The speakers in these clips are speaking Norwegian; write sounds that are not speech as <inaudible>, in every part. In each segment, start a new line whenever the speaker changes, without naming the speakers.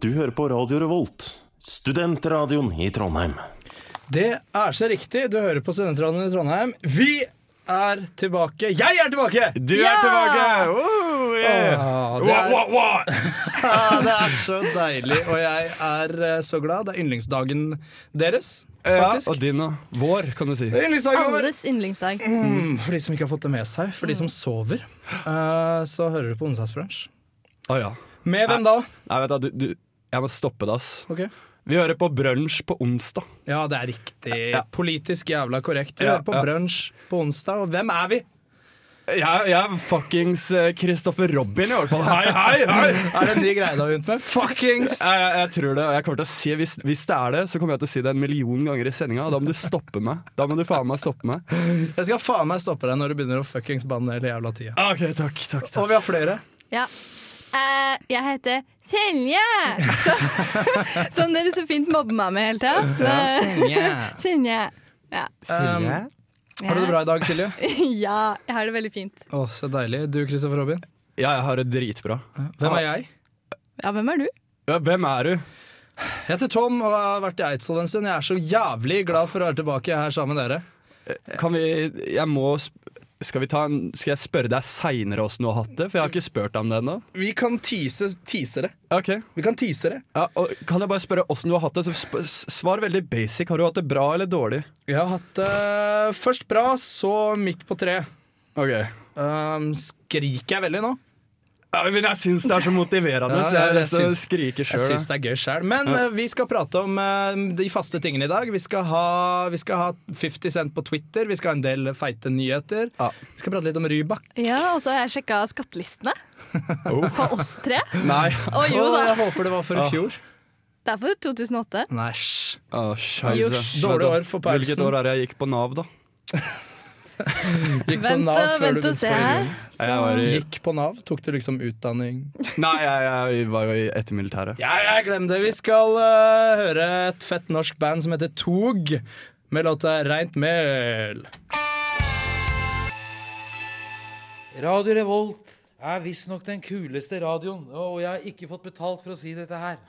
Du hører på Radio Revolt, studentradioen i Trondheim.
Det er så riktig. Du hører på Studentradioen i Trondheim. Vi er tilbake. Jeg er tilbake!
Du er tilbake! Oh, yeah.
Ah, det,
Wah,
er,
wah, wah.
ah, det er så deilig, og jeg er eh, så glad. Det er yndlingsdagen deres,
Ja,
faktisk.
og din og vår, kan du si.
Det er yndlingsdagen vår.
Alles yndlingsdag.
Mm, for de som ikke har fått det med seg, for de som sover, eh, så hører du på Onsdagsbransj.
Å, ja.
Med hvem da?
Nei, vet du, du, du, jeg må stoppe det, ass.
Ok.
Vi hører på brunsj på onsdag.
Ja, det er riktig.
Ja.
Politisk jævla korrekt. Vi
Ja,
hører på
ja.
brunsj på onsdag, og hvem er vi?
Jeg, jeg er fuckings eh, Christopher Robin, i hvert fall. Hei, hei, hei!
Er det en ny greie du har begynt med? <laughs> Fuckings!
Jeg, jeg, jeg tror det, og jeg kommer til å si hvis, hvis det er det, så kommer jeg til å si det en million ganger i sendinga, og da må du stoppe meg. Da må du faen meg stoppe meg.
Jeg skal faen meg stoppe deg når du begynner å fuckings banne hele jævla tida.
Ah, Ok, takk, takk,
Og vi har flere.
Ja. Eh, jeg heter Senje! Så, som dere så <laughs> fint mobber meg med hele tida. Senje. Ja.
<laughs> Um, har du det bra i dag, Silje?
Ja, <laughs> jeg har det veldig fint.
Å, så deilig. Du, Kristoffer Robin.
Ja, jeg har det dritbra.
Hvem er jeg?
Ja, hvem er du?
Ja, hvem er du?
Jeg heter Tom og har vært i Eidsvoll en stund. Jeg er så jævlig glad for å være tilbake her sammen med dere.
Kan vi Jeg må sp- skal, vi ta en, skal jeg spørre deg seinere åssen du har hatt det? For jeg har ikke spurt deg om det ennå.
Vi kan tease teasere.
Ok.
Vi kan teasere.
Ja, og kan jeg bare spørre åssen du har hatt det? Så sp s- svar veldig basic. Har du hatt det bra eller dårlig?
Jeg har hatt det først bra, så midt på treet.
Ok.
Um, skriker jeg veldig nå?
Ja, men jeg syns det er så motiverende,
Ja,
så jeg har
jeg
lyst til å
syns-
skrike
Jeg syns
sjøl.
det er gøy sjøl. Men eh, vi skal prate om eh, de faste tingene i dag. Vi skal, ha, vi skal ha 50 Cent på Twitter, vi skal ha en del feite nyheter.
Ja.
Vi skal prate litt om Rybak.
Ja, og så har jeg sjekka skattelistene
Oh.
på oss tre.
Nei.
<laughs>
Å jo
Å,
da.
jeg håper det var for i
Ah.
fjor.
Det er for 2008.
Næsj.
Å, scheisse.
Josj.
Dårlig år for Paulsen.
Hvilket år er det jeg gikk på Nav, da?
Gikk på
Vent,
Nav
og-
før du
vent og
begynte på
se her.
Rybak.
Så-
Jeg var i,
Gikk på Nav? Tok du liksom utdanning?
nei, jeg, jeg var jo i etter militæret.
Ja, jeg glem det. Vi skal eh, høre et fett norsk band som heter Tog, med låta Reint mel. <laughs>
Radio Revolt er visstnok den kuleste radioen, og jeg har ikke fått betalt for å si dette her.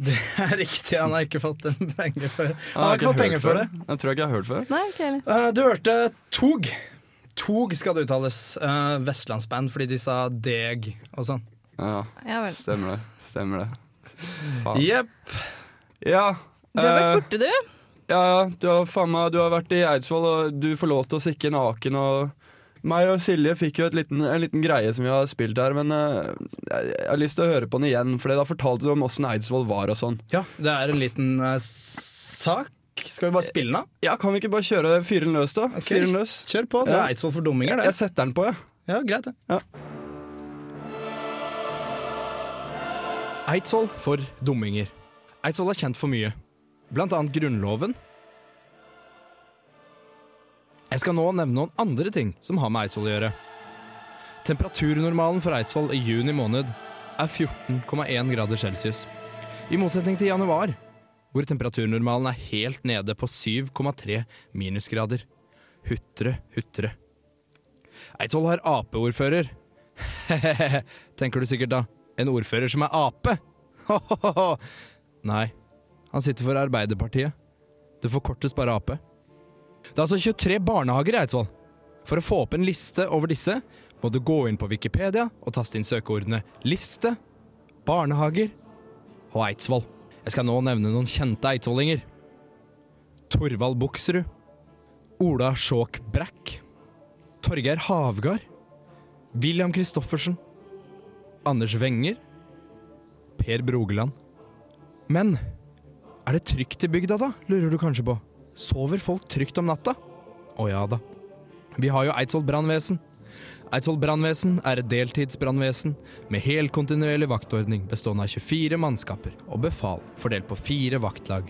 Det er riktig, han har ikke fått en penge for Han
Jeg
har ikke fått
hørt
penger for det.
Jeg tror ikke jeg har hørt før.
Nei, ikke heller.
Eh, Du hørte Tog. Tog skal det uttales. Eh, Vestlandsband, fordi de sa deg og sånn.
Ja,
Ja vel.
stemmer det. Stemmer det. Faen.
Jepp.
Ja.
Du har
eh,
vært borte, du.
Ja, ja, du har, faen meg, du har vært i Eidsvoll, og du forlot oss ikke naken. Og meg og Silje fikk jo et liten, en liten greie som vi har spilt her, men eh, jeg, jeg har lyst til å høre på den igjen, for da fortalte du om åssen Eidsvoll var og sånn.
Ja, det er en liten eh, sak. Skal vi bare spille den av?
Ja, kan vi ikke bare kjøre fyren løs, da?
Ok,
Fyren løs.
Kjør på. Det
Ja.
er Eidsvoll for dumminger, det.
Jeg setter den på, jeg.
Ja, greit, det.
Ja.
Eidsvoll for dumminger. Eidsvoll er kjent for mye, blant annet Grunnloven. Jeg skal nå nevne noen andre ting som har med Eidsvoll å gjøre. Temperaturnormalen for Eidsvoll i juni måned er 14,1 grader celsius. I motsetning til januar, hvor temperaturnormalen er helt nede på 7,3 minusgrader. Hutre, hutre. Eidsvoll har apeordfører. <laughs> Tenker du sikkert da. En ordfører som er ape? <laughs> Nei, han sitter for Arbeiderpartiet. Det forkortes bare Ap. Det er altså 23 barnehager i Eidsvoll. For å få opp en liste over disse, må du gå inn på Wikipedia og taste inn søkeordene liste, barnehager og Eidsvoll. Jeg skal nå nevne noen kjente eidsvollinger. Torvald Buksrud. Ola Skjåk Brekk. Torgeir Havgard, William Kristoffersen, Anders Wenger, Per Brogeland. Men er det trygt i bygda da, lurer du kanskje på? Sover folk trygt om natta? Å ja da. Vi har jo Eidsvoll brannvesen. Eidsvoll brannvesen er et deltidsbrannvesen med helkontinuerlig vaktordning bestående av 24 mannskaper og befal fordelt på fire vaktlag.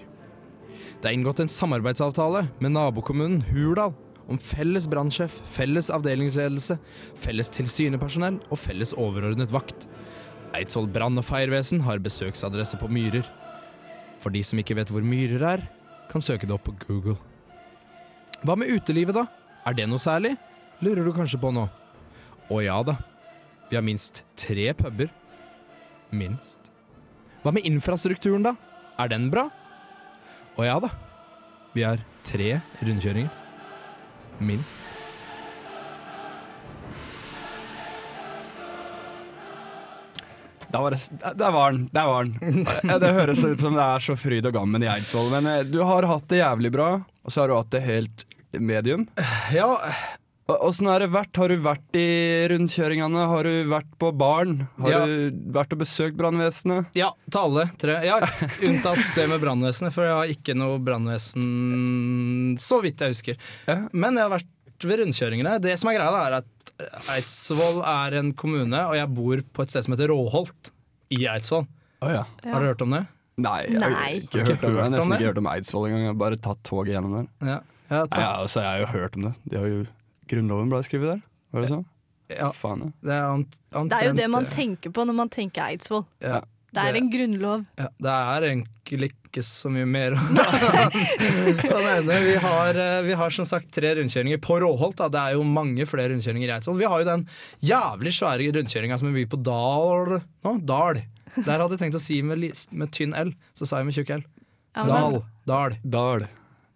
Det er inngått en samarbeidsavtale med nabokommunen Hurdal om felles brannsjef, felles avdelingsledelse, felles tilsynepersonell og felles overordnet vakt. Eidsvoll brann- og feirvesen har besøksadresse på Myrer. For de som ikke vet hvor Myrer er, kan søke det opp på Google. Hva med utelivet, da? Er det noe særlig? Lurer du kanskje på nå. Å ja da. Vi har minst tre puber. Minst. Hva med infrastrukturen, da? Er den bra? Å ja da. Vi har tre rundkjøringer. Minst.
Der var, det- der var den. Der var den. Ja, Det høres ut som det er så fryd og gammen i Eidsvoll, men eh, du har hatt det jævlig bra, og så har du hatt det helt medium.
Ja,
Å- Åssen har det vært? Har du vært i rundkjøringene? Har du vært på baren? Har
Ja.
du vært og besøkt brannvesenet?
Ja, til alle tre. Ja, unntatt det med brannvesenet, for jeg har ikke noe brannvesen så vidt jeg husker.
Ja.
Men jeg har vært ved rundkjøringene. Det som er greia, da, er at Eidsvoll er en kommune, og jeg bor på et sted som heter Råholt i Eidsvoll.
Å ja.
Har du hørt om det?
Nei, jeg har
Nei.
ikke hørt om det. Jeg har
hørt om
nesten
det?
ikke hørt om Eidsvoll engang. Jeg har bare tatt toget gjennom der.
Ja. Ja,
Nei,
ta,
ja, altså, jeg har jo hørt om det. De har jo, grunnloven ble skrevet der. Var det sånn?
ja,
Faen, ja.
det, er omtrent,
Det er jo det man tenker på når man tenker Eidsvoll.
Ja,
Det er
Det-
en grunnlov.
ja, det er egentlig ikke så mye mer
<laughs>
å å nevne. Vi har, eh, vi har som sagt tre rundkjøringer på Råholt. Da. Det er jo mange flere rundkjøringer i Eidsvoll. Vi har jo den jævlig svære rundkjøringa som er mye på Dal nå. Dal. Der hadde jeg tenkt å si med, li- med tynn L, så sa jeg med tjukk L.
Ja, men-
Dal. Dal.
Dal.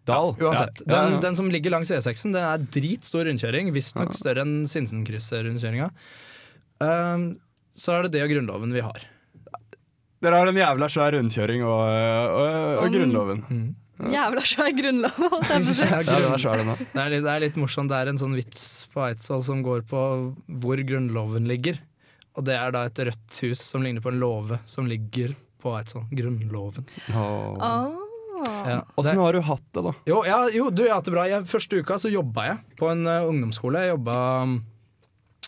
Dal.
Uansett.
Ja, ja,
Den,
ja.
den som ligger langs E6-en, den er dritstor rundkjøring. Visstnok større enn Sinsenkrysset-rundkjøringa. Um, så er det det og Grunnloven vi har.
Dere har en jævla svær rundkjøring og, og, og Grunnloven.
Jævla svær grunnlov. holdt jeg på å si.
Ja, den er svær, den òg.
Det er, litt, det er litt morsomt. Det er en sånn vits på Eidsvoll som går på hvor Grunnloven ligger. Og det er da et rødt hus som ligner på en låve som ligger på Eidsvoll. Grunnloven.
Ah.
Ja. Det,
Åssen har du hatt det, da?
jo, ja, jo, du, jeg har hatt det bra. Jeg, første uka så jobba jeg på en eh, ungdomsskole. Jeg jobba mm,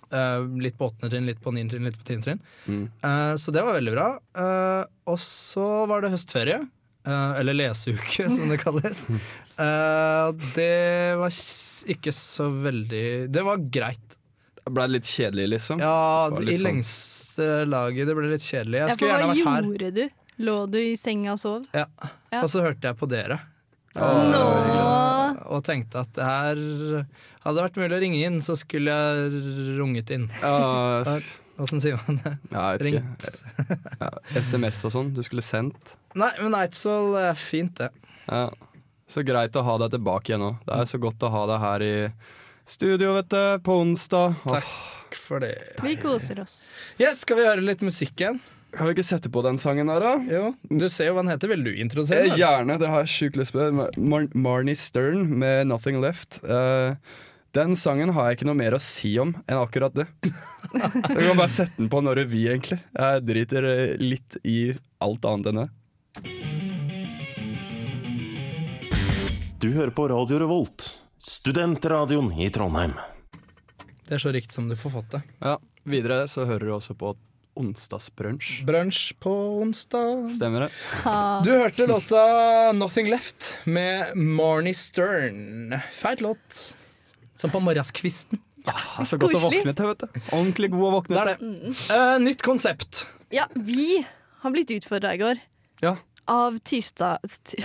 eh, litt på åttende trinn, litt på niende trinn, litt på tiende trinn. Eh, så det var veldig bra. Eh, og så var det høstferie. eh, eller leseuke, <laughs> som det kalles. Eh, det var s- ikke så veldig Det var greit.
Ble det litt kjedelig, liksom?
Ja,
var
i
litt sånn-
lengste laget. Det ble litt kjedelig.
Ja,
Jeg
for
skulle
hva
gjerne vært her.
gjorde du? Lå du i senga og sov?
Ja.
Ja.
Og så hørte jeg på dere
Nå.
og tenkte at det her hadde vært mulig å ringe inn, så skulle jeg runget inn.
Ja, s-
Åssen sier man det?
ja, jeg vet ikke. Ja, SMS og sånn. Du skulle sendt.
Nei, men Eidsvoll er fint, det.
Ja. Så greit å ha deg tilbake igjen òg. Det er så godt å ha deg her i studio, vet du. På onsdag. Åh,
Takk for det.
Vi koser oss.
Yes, skal vi høre litt musikk igjen?
Kan vi ikke sette på den sangen der, da?
Jo, du ser jo hva den heter. Vil du
Eh,
introdusere den?
gjerne, det har jeg sjukt lyst på. Mar Marnie Stern med 'Nothing Left'. Eh, den sangen har jeg ikke noe mer å si om enn akkurat <laughs> det. Du kan bare sette den på når du vil, egentlig. Jeg driter eh, litt i alt annet enn det.
Du hører på Radio Revolt, studentradioen i Trondheim.
Det er så riktig som du får fått det.
Ja, Videre så hører du også på Onsdagsbrunsj.
Brunsj på onsdag.
Stemmer det?
Ha.
Du hørte låta 'Nothing Left' med Marnie Stern. Feit låt. Som på morgenskvisten.
Ah, så godt å
Koselig.
våkne til, vet du. Ordentlig god å våkne
Det er
til.
det. <laughs> Eh, nytt konsept.
Ja, vi har blitt utfordra i går
Ja.
av tirsdags... ti-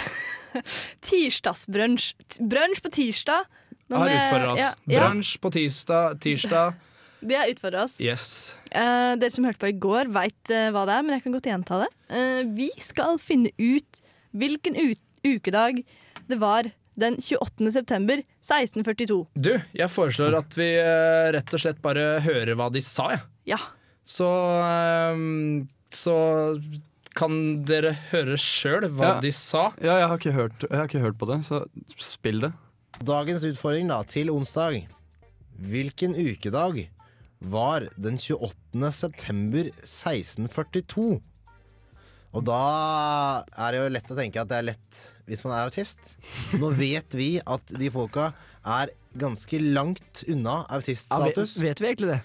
<laughs> Tirsdagsbrunsj. T- Brunsj på tirsdag. Nå
Har
med-
utfordra oss.
Ja, ja,
Brunsj på tirsdag. <laughs> Tirsdag.
de har utfordra oss.
Yes.
Eh, dere som hørte på i går, veit eh, hva det er, men jeg kan godt gjenta det. Eh, vi skal finne ut hvilken u ukedag det var den 28. september 1642.
Du, jeg foreslår at vi eh, rett og slett bare hører hva de sa, jeg.
Ja.
Så eh, Så kan dere høre sjøl hva
Ja.
de sa.
ja, jeg har ikke hørt, jeg har ikke hørt på det, så spill det.
Dagens utfordring da, til onsdag. Hvilken ukedag var den 28. september 1642? Og da er det jo lett å tenke at det er lett hvis man er autist. Nå vet vi at de folka er ganske langt unna autiststatus.
vet vi egentlig det?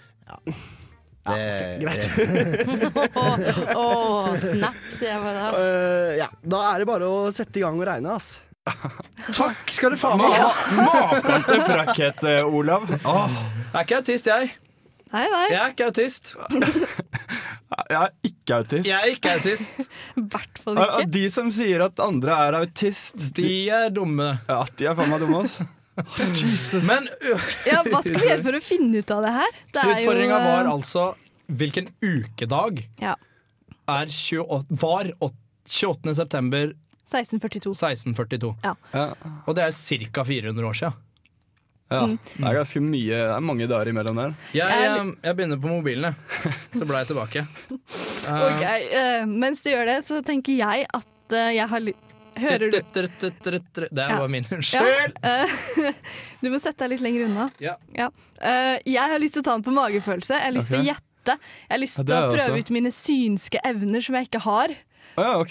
Det-
Åh, snap, sier jeg bare. da.
Øh, ja. Da er det bare å sette i gang og regne, ass.
Takk skal du faen meg ha!
Maken til brakkhet, eh, Olav. Åh,
Jeg er ikke autist, jeg.
Nei, nei.
Jeg er ikke autist.
jeg er ikke autist.
Jeg er ikke autist.
I hvert fall
Ja, ja,
ikke.
De som sier at andre er autist, de,
De er dumme.
ja, de er faen meg dumme, altså. Jesus.
Men
Ja, hva skal vi gjøre for å finne ut av det her? Det er jo,
utfordringa
eh,
var altså hvilken ukedag
ja.
er 28, var åt- 28. september
1642.
1642.
Ja.
Og det er ca. 400 år siden.
Ja.
Mm.
Det er ganske mye Det er mange dager imellom der.
Jeg,
Jeg-
eh, jeg begynner på mobilen, jeg. Så blar jeg tilbake.
Ok, eh, Mens du gjør det, så tenker jeg at eh, jeg har litt Hører du?
Det
Ja.
var min.
Ja,
Unnskyld.
eh, <laughs> du må sette deg litt lenger unna.
Ja.
Eh, jeg har lyst til å ta den på magefølelse. Jeg har lyst til å
Ok.
gjette. Jeg har lyst
Ja,
til
det
å
har jeg
prøve
også.
ut mine synske evner som jeg ikke har.
Å ja, ok.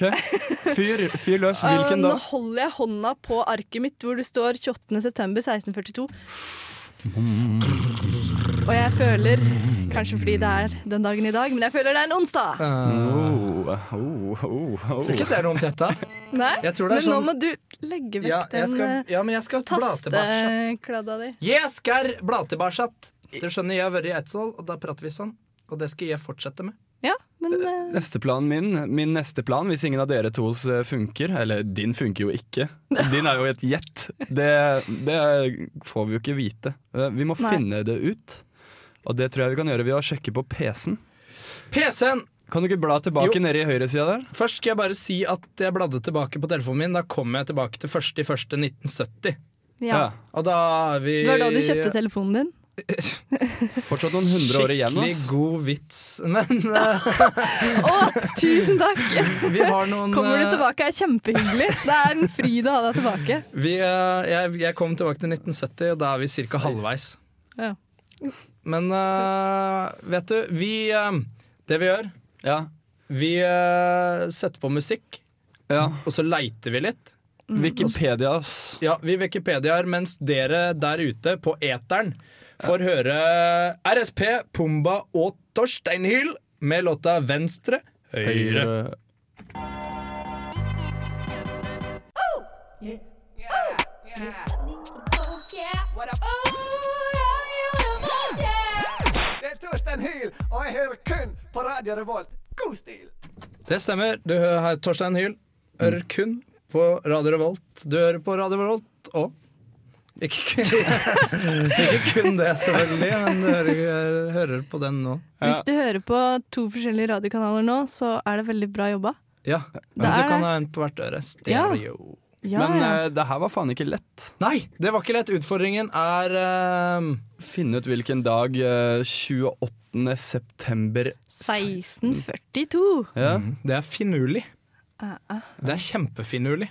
Fyr, fyr
<laughs>
løs.
Um,
Hvilken
Eh,
da?
nå holder jeg hånda på arket mitt hvor det står 28.9.1642. Og jeg føler, kanskje fordi det er den dagen i dag, men jeg føler det er en onsdag.
Oh, oh, oh, oh.
Tror ikke det er noe om tetta.
Nei,
jeg tror det er
men nå
sånn-
må du legge vekk
Ja, jeg
den
skal,
eh,
ja, men jeg skal bla tilbake.
tastekladda di.
Jeg skal bla tilbake. Du skjønner, jeg har vært i Eidsvoll, og da prater vi sånn. Og det skal jeg fortsette med.
Ja, men eh,
Neste plan min, min neste plan, hvis ingen av dere tos eh, funker Eller din funker jo
<laughs>
ikke. Din er jo et gjett. Det, det får vi jo ikke vite. Eh, Vi må
Nei.
finne det ut. Og det tror jeg vi kan gjøre ved å sjekke på PC-en.
PC-en!
Kan du ikke bla tilbake
Jo.
nede i høyresida der?
Først skal jeg bare si at jeg bladde tilbake på telefonen min. Da kom jeg tilbake til 1.1.1970.
ja.
Og da er vi
Det var da du kjøpte telefonen
<laughs>
din.
Fortsatt noen hundre år igjen.
Skikkelig
ass.
god vits. <laughs> Men eh,
Å, tusen takk!
vi har noen
Kommer du
eh,
tilbake, er kjempehyggelig. Det er en fryd å ha deg tilbake.
Vi, eh, jeg, jeg kom tilbake til 1970, og da er vi ca. halvveis.
Ja.
Men eh, vet du, vi eh, Det vi gjør,
Ja.
vi eh, setter på musikk,
ja.
og så leiter vi litt.
Mm.
Wikipedia, ass.
Ja, vi Wikipediaer, mens dere der ute på eteren får høre RSP, Pumba og Torsteinhyl med låta Venstre, Høyre.
Det er Torstein Hyl, og jeg hører kun på Radio Revolt. God stil!
Det stemmer. Du hører her Torstein Hyl. Hører kun på Radio Revolt. Du hører på Radio Revolt og ikke kun, <laughs> ikke kun det, selvfølgelig, men du hører, hører på den nå.
Hvis du hører på to forskjellige radiokanaler nå, så er det veldig bra jobba.
Ja. Men
Det er
du kan
det.
ha en på hvert øre. Stereo.
Ja,
Men
ja.
eh, det her var faen ikke lett.
Nei, det var ikke lett. Utfordringen er ehm,
Finne ut hvilken dag eh, 28. september
1642.
Ja.
Det er finurlig. Det er kjempefinurlig.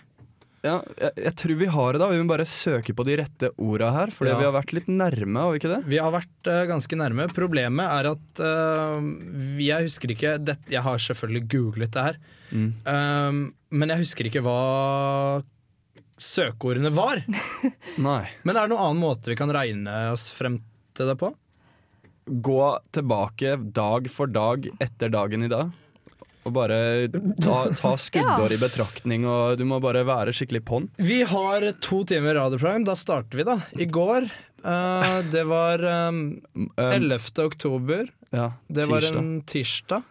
Ja, jeg, jeg tror vi har det da. Vi må bare søke på de rette orda her, fordi
Ja.
vi har vært litt nærme, har vi ikke det?
Vi har vært eh, ganske nærme. Problemet er at eh, vi- jeg husker ikke dette, Jeg har selvfølgelig googlet det her, Um, men jeg husker ikke hva søkeordene var.
Nei.
Men er det noen annen måte vi kan regne oss frem til det på?
Gå tilbake dag for dag etter dagen i dag. Og bare ta, ta skuddår i betraktning, og du må bare være skikkelig på'n.
Vi har to timer radioprogram. Da starter vi, da. I går. eh, det var um,
Um,
11. oktober.
ja,
Det var
tirsdag.
en tirsdag.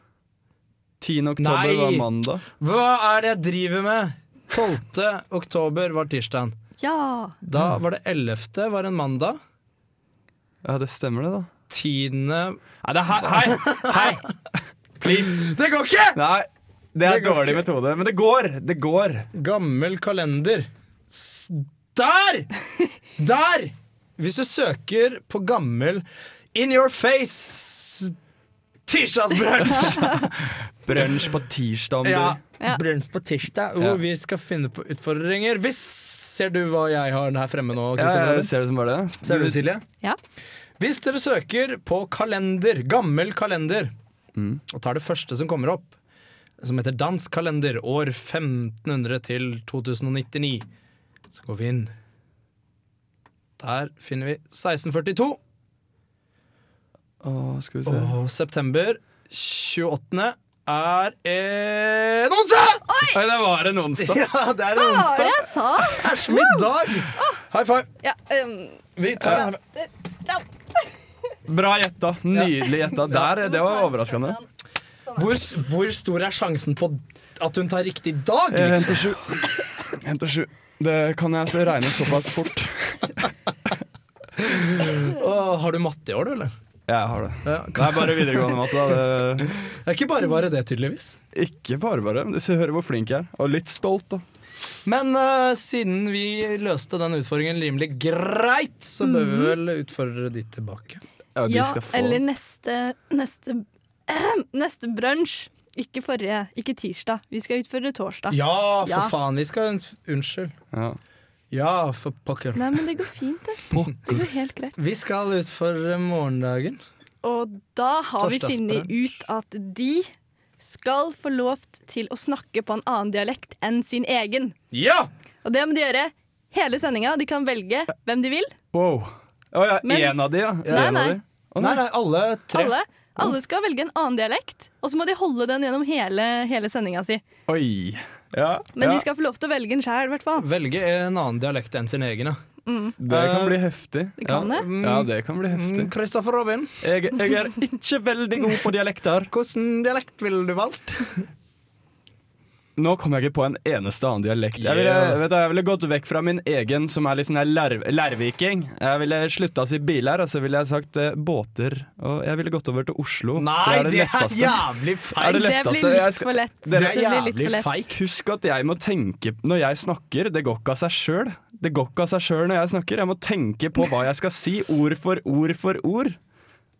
10. oktober
Nei!
var mandag.
Hva er det jeg driver med?! 12. oktober var tirsdagen.
Ja.
Da var det 11. var en mandag.
Ja, det stemmer det, da.
10.
Nei, det her, hei! Hei! Please!
Det går ikke!
Nei, det er
Det går
dårlig metode. Men det går! Det går.
Gammel kalender. S- Der! Der! Hvis du søker på gammel In your face tirsdagsbrunsj!
Brunsj på tirsdag, om du
<laughs> Ja,
vil.
Ja.
brunsj på tirsdag. Og
Ja.
vi skal finne på utfordringer. Hvis Ser du hva jeg har her fremme nå?
Ja,
Christian
jeg
Brønner?
ser det som bare det.
Ser du, Silje?
Ja.
Hvis dere søker på kalender, gammel kalender, og tar det første som kommer opp, som heter dansk kalender år 1500 til 2099, så går vi inn. Der finner vi 1642
Å, skal vi se.
og september 28. er en onsdag!
Nei, det var en onsdag.
Ja, det er en
Hva var det
onsdag.
jeg sa?
Æsj, middag! High five.
Ja, um,
Vi tar en high five.
Bra gjetta. Nydelig gjetta. Der, det var overraskende.
Hvor, hvor stor er sjansen på at hun tar riktig dag?
Eh,
Liksom?
Henter sju. Henter sju. Det kan jeg så regne såpass fort.
Åh, har du matte i år, du, eller?
Jeg har det.
Ja,
Det er bare videregående matte. da. Det,
Det er ikke bare bare det, tydeligvis.
ikke bare bare. men Du hører hvor flink jeg er. Og litt stolt, da.
Men eh, siden vi løste den utfordringen rimelig greit, så bør
Mhm.
vi vel utfordre de tilbake.
Ja, de
Ja,
skal få
eller neste Neste, <clears throat> neste brunsj. Ikke forrige, ikke tirsdag. Vi skal utføre torsdag.
Ja, for
Ja.
faen! Vi skal unns- Unnskyld.
ja.
Ja, for pokker.
Nei, men det går fint, det. Det går helt greit.
Vi skal utfordre morgendagen.
Og da har vi funnet
Torsdagsbrunsj.
ut at de skal få lov til å snakke på en annen dialekt enn sin egen.
Ja!
Og det må de gjøre hele sendinga. De kan velge hvem de vil.
Wow. Å ja,
Men-
én av de, ja.
Nei,
En av
nei.
de. Å,
Nei, nei, alle tre.
Alle, alle skal velge en annen dialekt, og så må de holde den gjennom hele, hele sendinga si.
Oi. Ja,
Men
ja.
de skal få lov til å velge en sjæl, i hvert fall.
Velge en annen dialekt enn sin egen, ja.
Det kan
Eh,
bli heftig.
det kan
ja.
det.
ja, det kan bli heftig.
Mm, Christopher Robin,
Jeg, jeg er ikke veldig god på dialekter.
hvilken dialekt ville du valgt?
Nå kom jeg ikke på en eneste annen dialekt. Jeg ville,
Yeah.
vet du, jeg ville gått vekk fra min egen, som er litt sånn her lær- lærviking. Jeg ville slutta å si biler, og så ville jeg sagt eh, båter. Og jeg ville gått over til Oslo. for letteste.
jævlig
Er
feil!
det
Det
letteste?
blir
Jeg
litt
skal-
for lett.
Det er
blir litt
jævlig
for lett.
feigt.
Husk at jeg må tenke når jeg snakker. Det går ikke av seg sjøl. Det går ikke av seg sjøl når jeg snakker. Jeg må tenke på hva jeg skal si, ord for ord for ord.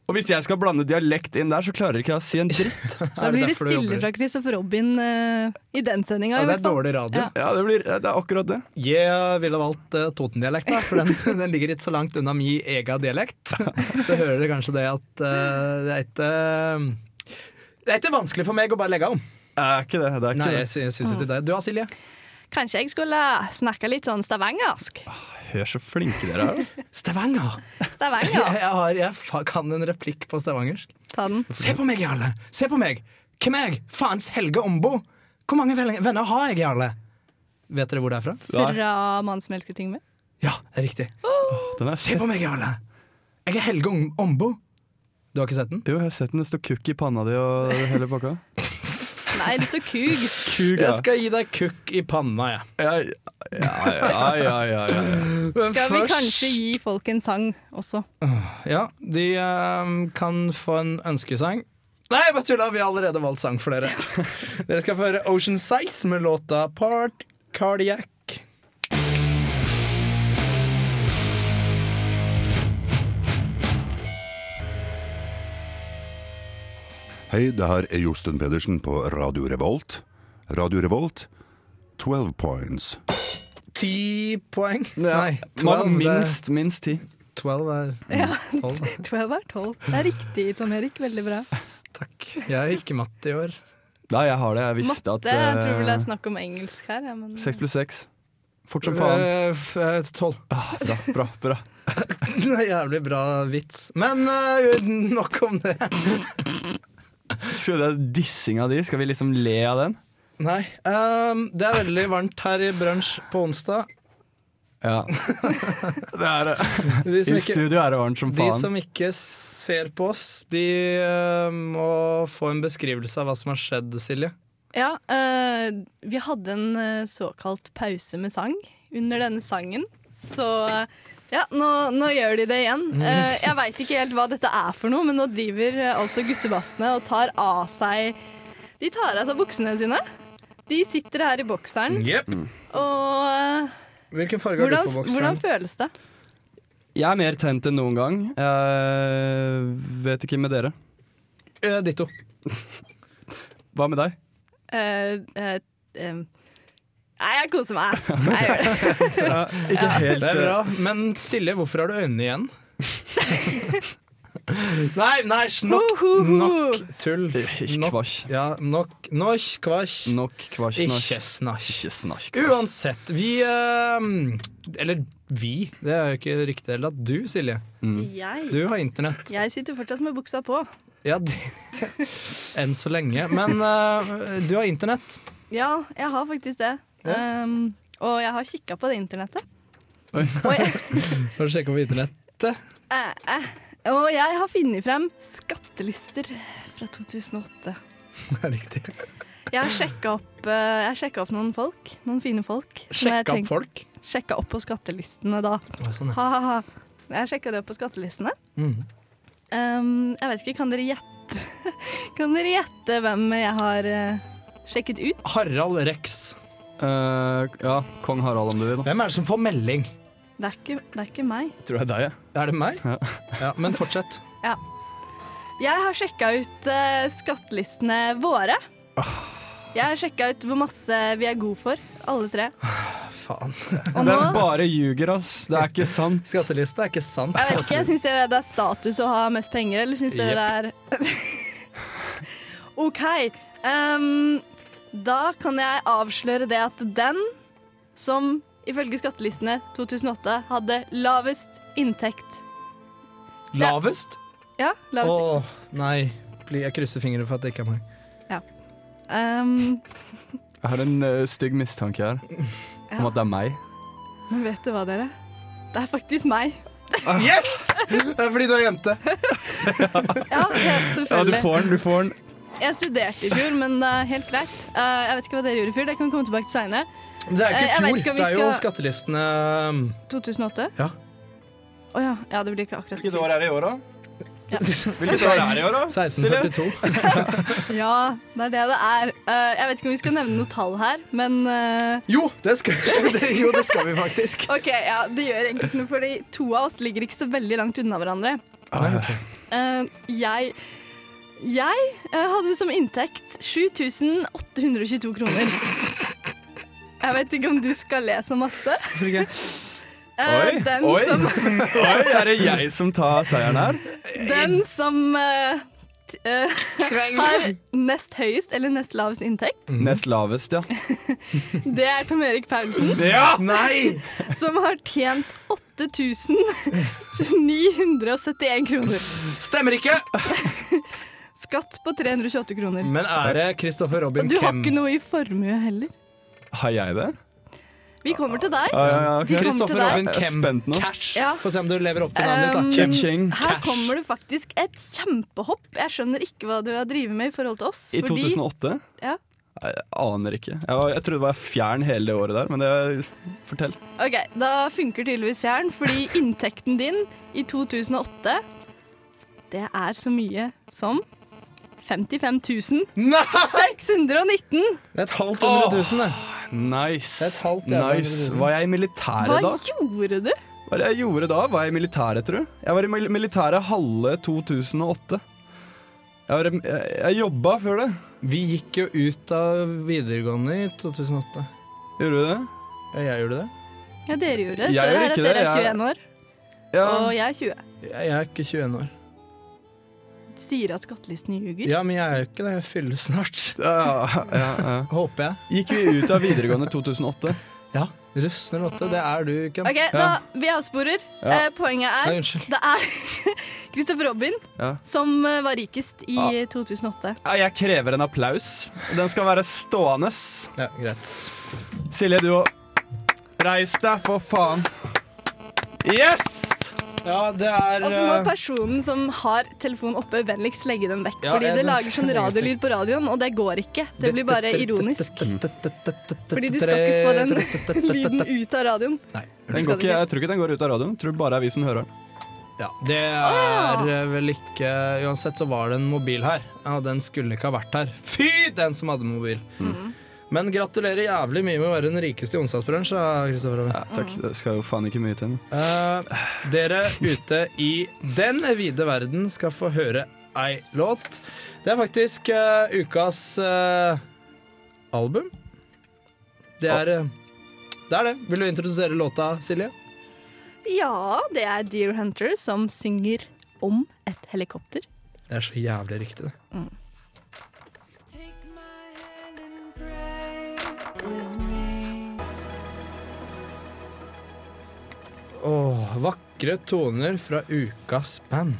Og hvis jeg skal blande dialekt inn der, så klarer ikke jeg å si en dritt.
Da blir det stille fra Christopher Robin eh, i den sendinga,
ja,
i
Det er
hvert fall.
dårlig radio.
Ja.
Ja, det, blir, det er akkurat det.
Jeg ville valgt uh, Toten-dialekt, da, for den, <laughs> den ligger ikke så langt unna min egen dialekt. Så hører dere kanskje det at eh, det er ikke Det er ikke vanskelig for meg å bare legge om.
Er ikke det. det er ikke
Nei,
det.
jeg, sy- jeg syns ikke det. Du da, Silje?
Kanskje jeg skulle snakke litt sånn stavangersk?
Hør så flinke dere er, da.
Stavanger! Jeg, <laughs>
Stavanger.
jeg, har, jeg fa- kan en replikk på stavangersk.
Ta den.
Se på meg, Jarle! Se på meg! Hvem er jeg? Faens Helge Ombo! Hvor mange vel- venner har jeg, Jarle? Vet dere hvor det er fra?
Fra Mannsmelketyngme.
Ja, det er riktig.
Den har jeg
Se
sett.
på meg, Jarle! Jeg er Helge Om- Ombo. Du har ikke sett den?
Jo, jeg har sett den. Det står kukk i panna di og hele pakka.
Nei, det står kug.
<laughs> Kuk, ja.
Jeg skal gi deg kukk i panna, jeg.
Ja, ja, ja, ja, ja, ja.
Skal vi kanskje gi folk en sang også?
Ja, de eh, kan få en ønskesang. Nei, jeg bare tulla! Vi har allerede valgt sang for
<laughs>
dere. dere skal få høre Ocean Size med låta Part Cardiac.
Hei, det her er Josten Pedersen på Radio Revolt. Radio Revolt, 12 points.
Ti poeng.
ja.
Nei,
Man,
12, det-
minst, minst ti.
12 er
Ja,
12.
Twelve er tolv. Det er riktig, Tom Erik. Veldig bra.
Takk. Jeg er ikke matte i år.
Nei, jeg har det. Jeg visste
Matte.
at
Jeg tror vel det
eh,
er snakk om engelsk her. Ja, men...
Seks pluss seks. Fort som faen.
Eh, f- eh, 12.
Ah, bra, bra, bra.
<laughs> Det er Jævlig bra vits. Men eh, nok om det.
Skal det er dissing av de? Skal vi liksom le av den?
Nei. ehm, det er veldig varmt her i brunsj på onsdag.
Ja. <laughs> det er det.
De som
I
ikke,
studio er det varmt som
de
faen.
som ikke ser på oss, de eh, må få en beskrivelse av hva som har skjedd, Silje.
Ja, eh, vi hadde en eh, såkalt pause med sang under denne sangen. Så eh, ja, nå, nå gjør de det igjen.
Mm.
Eh, jeg veit ikke helt hva dette er for noe, men nå driver eh, altså guttebassene og tar av seg De tar av seg buksene sine. De sitter her i bokseren,
Mm.
og eh,
Hvilken farge har
hvordan,
du Mm. på
hvordan
bokseren?
føles det?
Jeg er mer tent enn noen gang. Jeg vet ikke med dere.
Eh, ditto.
Hva med deg?
Eh, eh, eh, Nei, jeg koser meg. Jeg gjør det.
Ikke helt
Det er
eh,
bra. Men Silje, hvorfor har du øynene igjen? <laughs> nei, nei, nok, nok tull.
<laughs> Ikke
Nok.
kvasj.
Ja, nok norsk kvasj.
Nok kvasj.
Ikke snasj.
Ikke snasj.
Uansett, vi ehm, Eller vi, det er jo ikke riktig. Eller at du, Silje. <laughs>
Jeg,
Du har internett.
jeg sitter fortsatt med buksa på.
Ja, det, <laughs> enn så lenge. Men eh, du har internett.
Ja, jeg har faktisk det. Um, og jeg har kikka på det internettet.
Oi.
Og jeg,
Får sjekke på internettet.
eh, eh, og jeg har funnet frem skattelister fra 2008.
<laughs> Det er riktig.
Jeg har sjekka opp, eh, jeg har sjekket opp noen folk. Noen fine folk. som jeg
Sjekka
tenk-
opp folk.
Sjekka opp på skattelistene da.
Å, Sånn, ja.
Ha, ha, ha. Jeg sjekka det opp på skattelistene.
Mhm.
Ehm, jeg vet ikke, kan dere gjette <laughs> Kan dere gjette hvem jeg har eh, sjekket ut?
Harald Rex.
Eh, ja, kong Harald om du vil. da.
Hvem er det som får melding?
Det er ikke, det er ikke meg.
Tror jeg det er deg, jeg.
Er det meg?
Ja.
Ja, men fortsett.
Jeg har sjekka ut eh, skattelistene våre.
Ah.
Jeg har sjekka ut hvor masse vi er gode for, alle
<laughs>
tre.
Faen.
Og nå
Den bare ljuger, ass. Det er ikke sant.
Skattelista er ikke sant.
Jeg vet ikke, Syns dere det er status å ha mest penger, eller syns dere det er <laughs> OK. ehm, da kan jeg avsløre det at den som ifølge skattelistene 2008 hadde lavest inntekt
Lavest?
Ja,
Å,
lavest
nei. Bli- Jeg krysser fingrene for at det ikke er meg.
Ehm,
Jeg har en eh, stygg mistanke her om
Ja.
at det er meg.
Men vet du hva, dere? Det er faktisk meg.
Yes! Det er fordi du er jente.
Ja, helt
Ja, du
selvfølgelig.
får den, du får den.
Jeg studerte i fjor, men det er helt greit. Eh, jeg vet ikke hva dere gjorde i fjor. Det kan vi komme tilbake til seinere.
Men det er
Eh, jeg
ikke
vet
i
ikke
fjor.
om vi
Det er jo
skal-
skattelistene um,
2008?
Ja.
Å ja. ja. Det blir ikke akkurat i
Hvilket
fjor.
år er det i år, da? Hvilket år er det i år, da?
<laughs> 1642.
Ja, det er det det er. Eh, jeg vet ikke om vi skal nevne noe tall her, men eh,
Jo det, skal, det- jo, det skal vi <laughs> faktisk.
OK, ja, det gjør egentlig noe, fordi to av oss ligger ikke så veldig langt unna hverandre. Eh, jeg jeg eh, hadde som inntekt 7822 kroner. Jeg vet ikke om du skal le så masse. Eh,
Oi,
den,
oi.
Som,
Oi, er det jeg som tar seieren her?
den som eh, t- eh, har nest høyest eller nest lavest inntekt,
Nest lavest, ja.
det er Tom Erik Paulsen,
Ja!
Nei!
som har tjent 8971 kroner.
Stemmer ikke!
Skatt på 328 kroner.
Men er det Christopher Robin
Og du har
Kem?
ikke noe i formue heller.
Har jeg det?
Vi kommer til deg.
Ja, ja, ja, ok.
Vi kommer
Christopher
til deg.
Robin
Jeg er
Kem
spent nå.
Cash.
Ja.
Få se om du lever opp til navnet ditt. da.
Um,
Ching.
Her
Cash.
kommer det faktisk et kjempehopp. Jeg skjønner ikke hva du har drevet med i forhold til oss.
I 2008?
Ja.
Nei, Jeg aner ikke. Jeg, var, jeg trodde det var fjern hele det året der, men det fortell.
Ok, Da funker tydeligvis fjern, fordi inntekten din i 2008 Det er så mye som 55 619!
Det er et halvt hundre tusen, det.
Nice.
Det er et halvt jævla
nice.
hundre.
Var jeg i militæret
Hva
da?
gjorde du?
Hva er det jeg gjorde da? Var jeg i militæret, tror du? Jeg var i mil- militæret halve 2008. Jeg, var, i- jeg, jeg jobba før det.
Vi gikk jo ut av videregående i 2008.
Gjorde du det?
Ja, Jeg gjorde det.
Ja, dere gjorde det.
Jeg
Står
gjorde
her at
ikke
dere
det,
er
jeg-
21 år,
Ja.
og jeg er 20.
Jeg jeg er ikke 21 år.
Sier at skattelisten ljuger.
Ja, men jeg er jo ikke det. Jeg fyller snart.
Ja, ja, ja.
Håper jeg.
Gikk vi ut av videregående 2008?
Ja. Russen eller åtte, det er du, Kem.
Ok, da, Vi avsporer.
Ja.
Eh, poenget
Nei,
er
unnskyld.
det er <laughs> Christopher Robin
Ja.
som eh, var rikest i
Ja.
2008.
Ja, Jeg krever en applaus. Den skal være stående.
Ja, greit.
Silje, du òg. Reis deg, for faen. Yes!
Ja, det er
Og så må
eh,
personen som har telefonen oppe, vennligst legge den vekk.
Ja,
fordi
jeg-
det lager sånn
jeg-
radiolyd på radioen, og det går ikke. Det blir bare ironisk. Fordi du skal ikke få den <laughs> lyden ut av radioen.
Den
Skal
går
det
ikke,
ikke?
jeg tror ikke den går ut av radioen. Tror bare avisen hører den.
Ja, det er eh, vel ikke Uansett så var det en mobil her. Ja, den skulle ikke ha vært her. Fy den som hadde mobil! Men gratulerer jævlig mye med å være den rikeste i onsdagsbransjen, da, Kristoffer Robin.
Ja, takk. Det skal jo faen ikke mye til.
Eh, dere ute i den vide verden skal få høre ei låt. Det er faktisk eh, ukas eh, album. Det er, eh, det er det. Vil du introdusere låta, Silje?
Ja, det er Deer Hunter som synger om et helikopter.
Det er så jævlig riktig, det. Åh, vakre toner fra ukas band.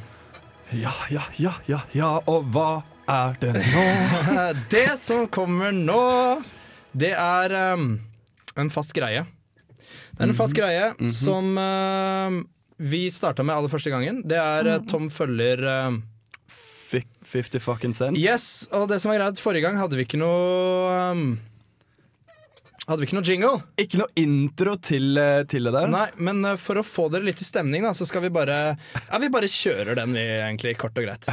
Ja, ja, ja, ja, ja, og hva er det nå?
Eh, Det som kommer nå, det er ehm, en fast greie. Det er en fast greie som ehm, vi starta med aller første gangen. Det er eh, Tom følger ehm,
Fik- 50 fucking cent.
Yes, og det som var greit, forrige gang hadde vi ikke noe ehm, um, Hadde vi ikke noe jingle?
Ikke noe intro til, eh, til det der?
Nei, men eh, for å få dere litt i stemning, da, så skal vi bare Ja, vi bare kjører den, vi, egentlig, kort og greit.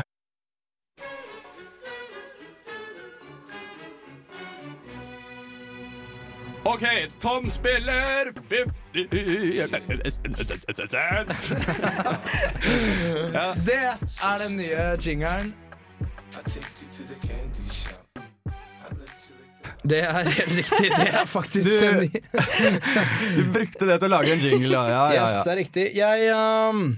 Ok, Tom spiller 50 cent.
Det er den nye jingeren. Det er helt riktig. Det er faktisk
Du-
en ny
Du brukte det til å lage en jingle, ja. ja, ja,
Yes,
ja.
det er riktig. Jeg ehm,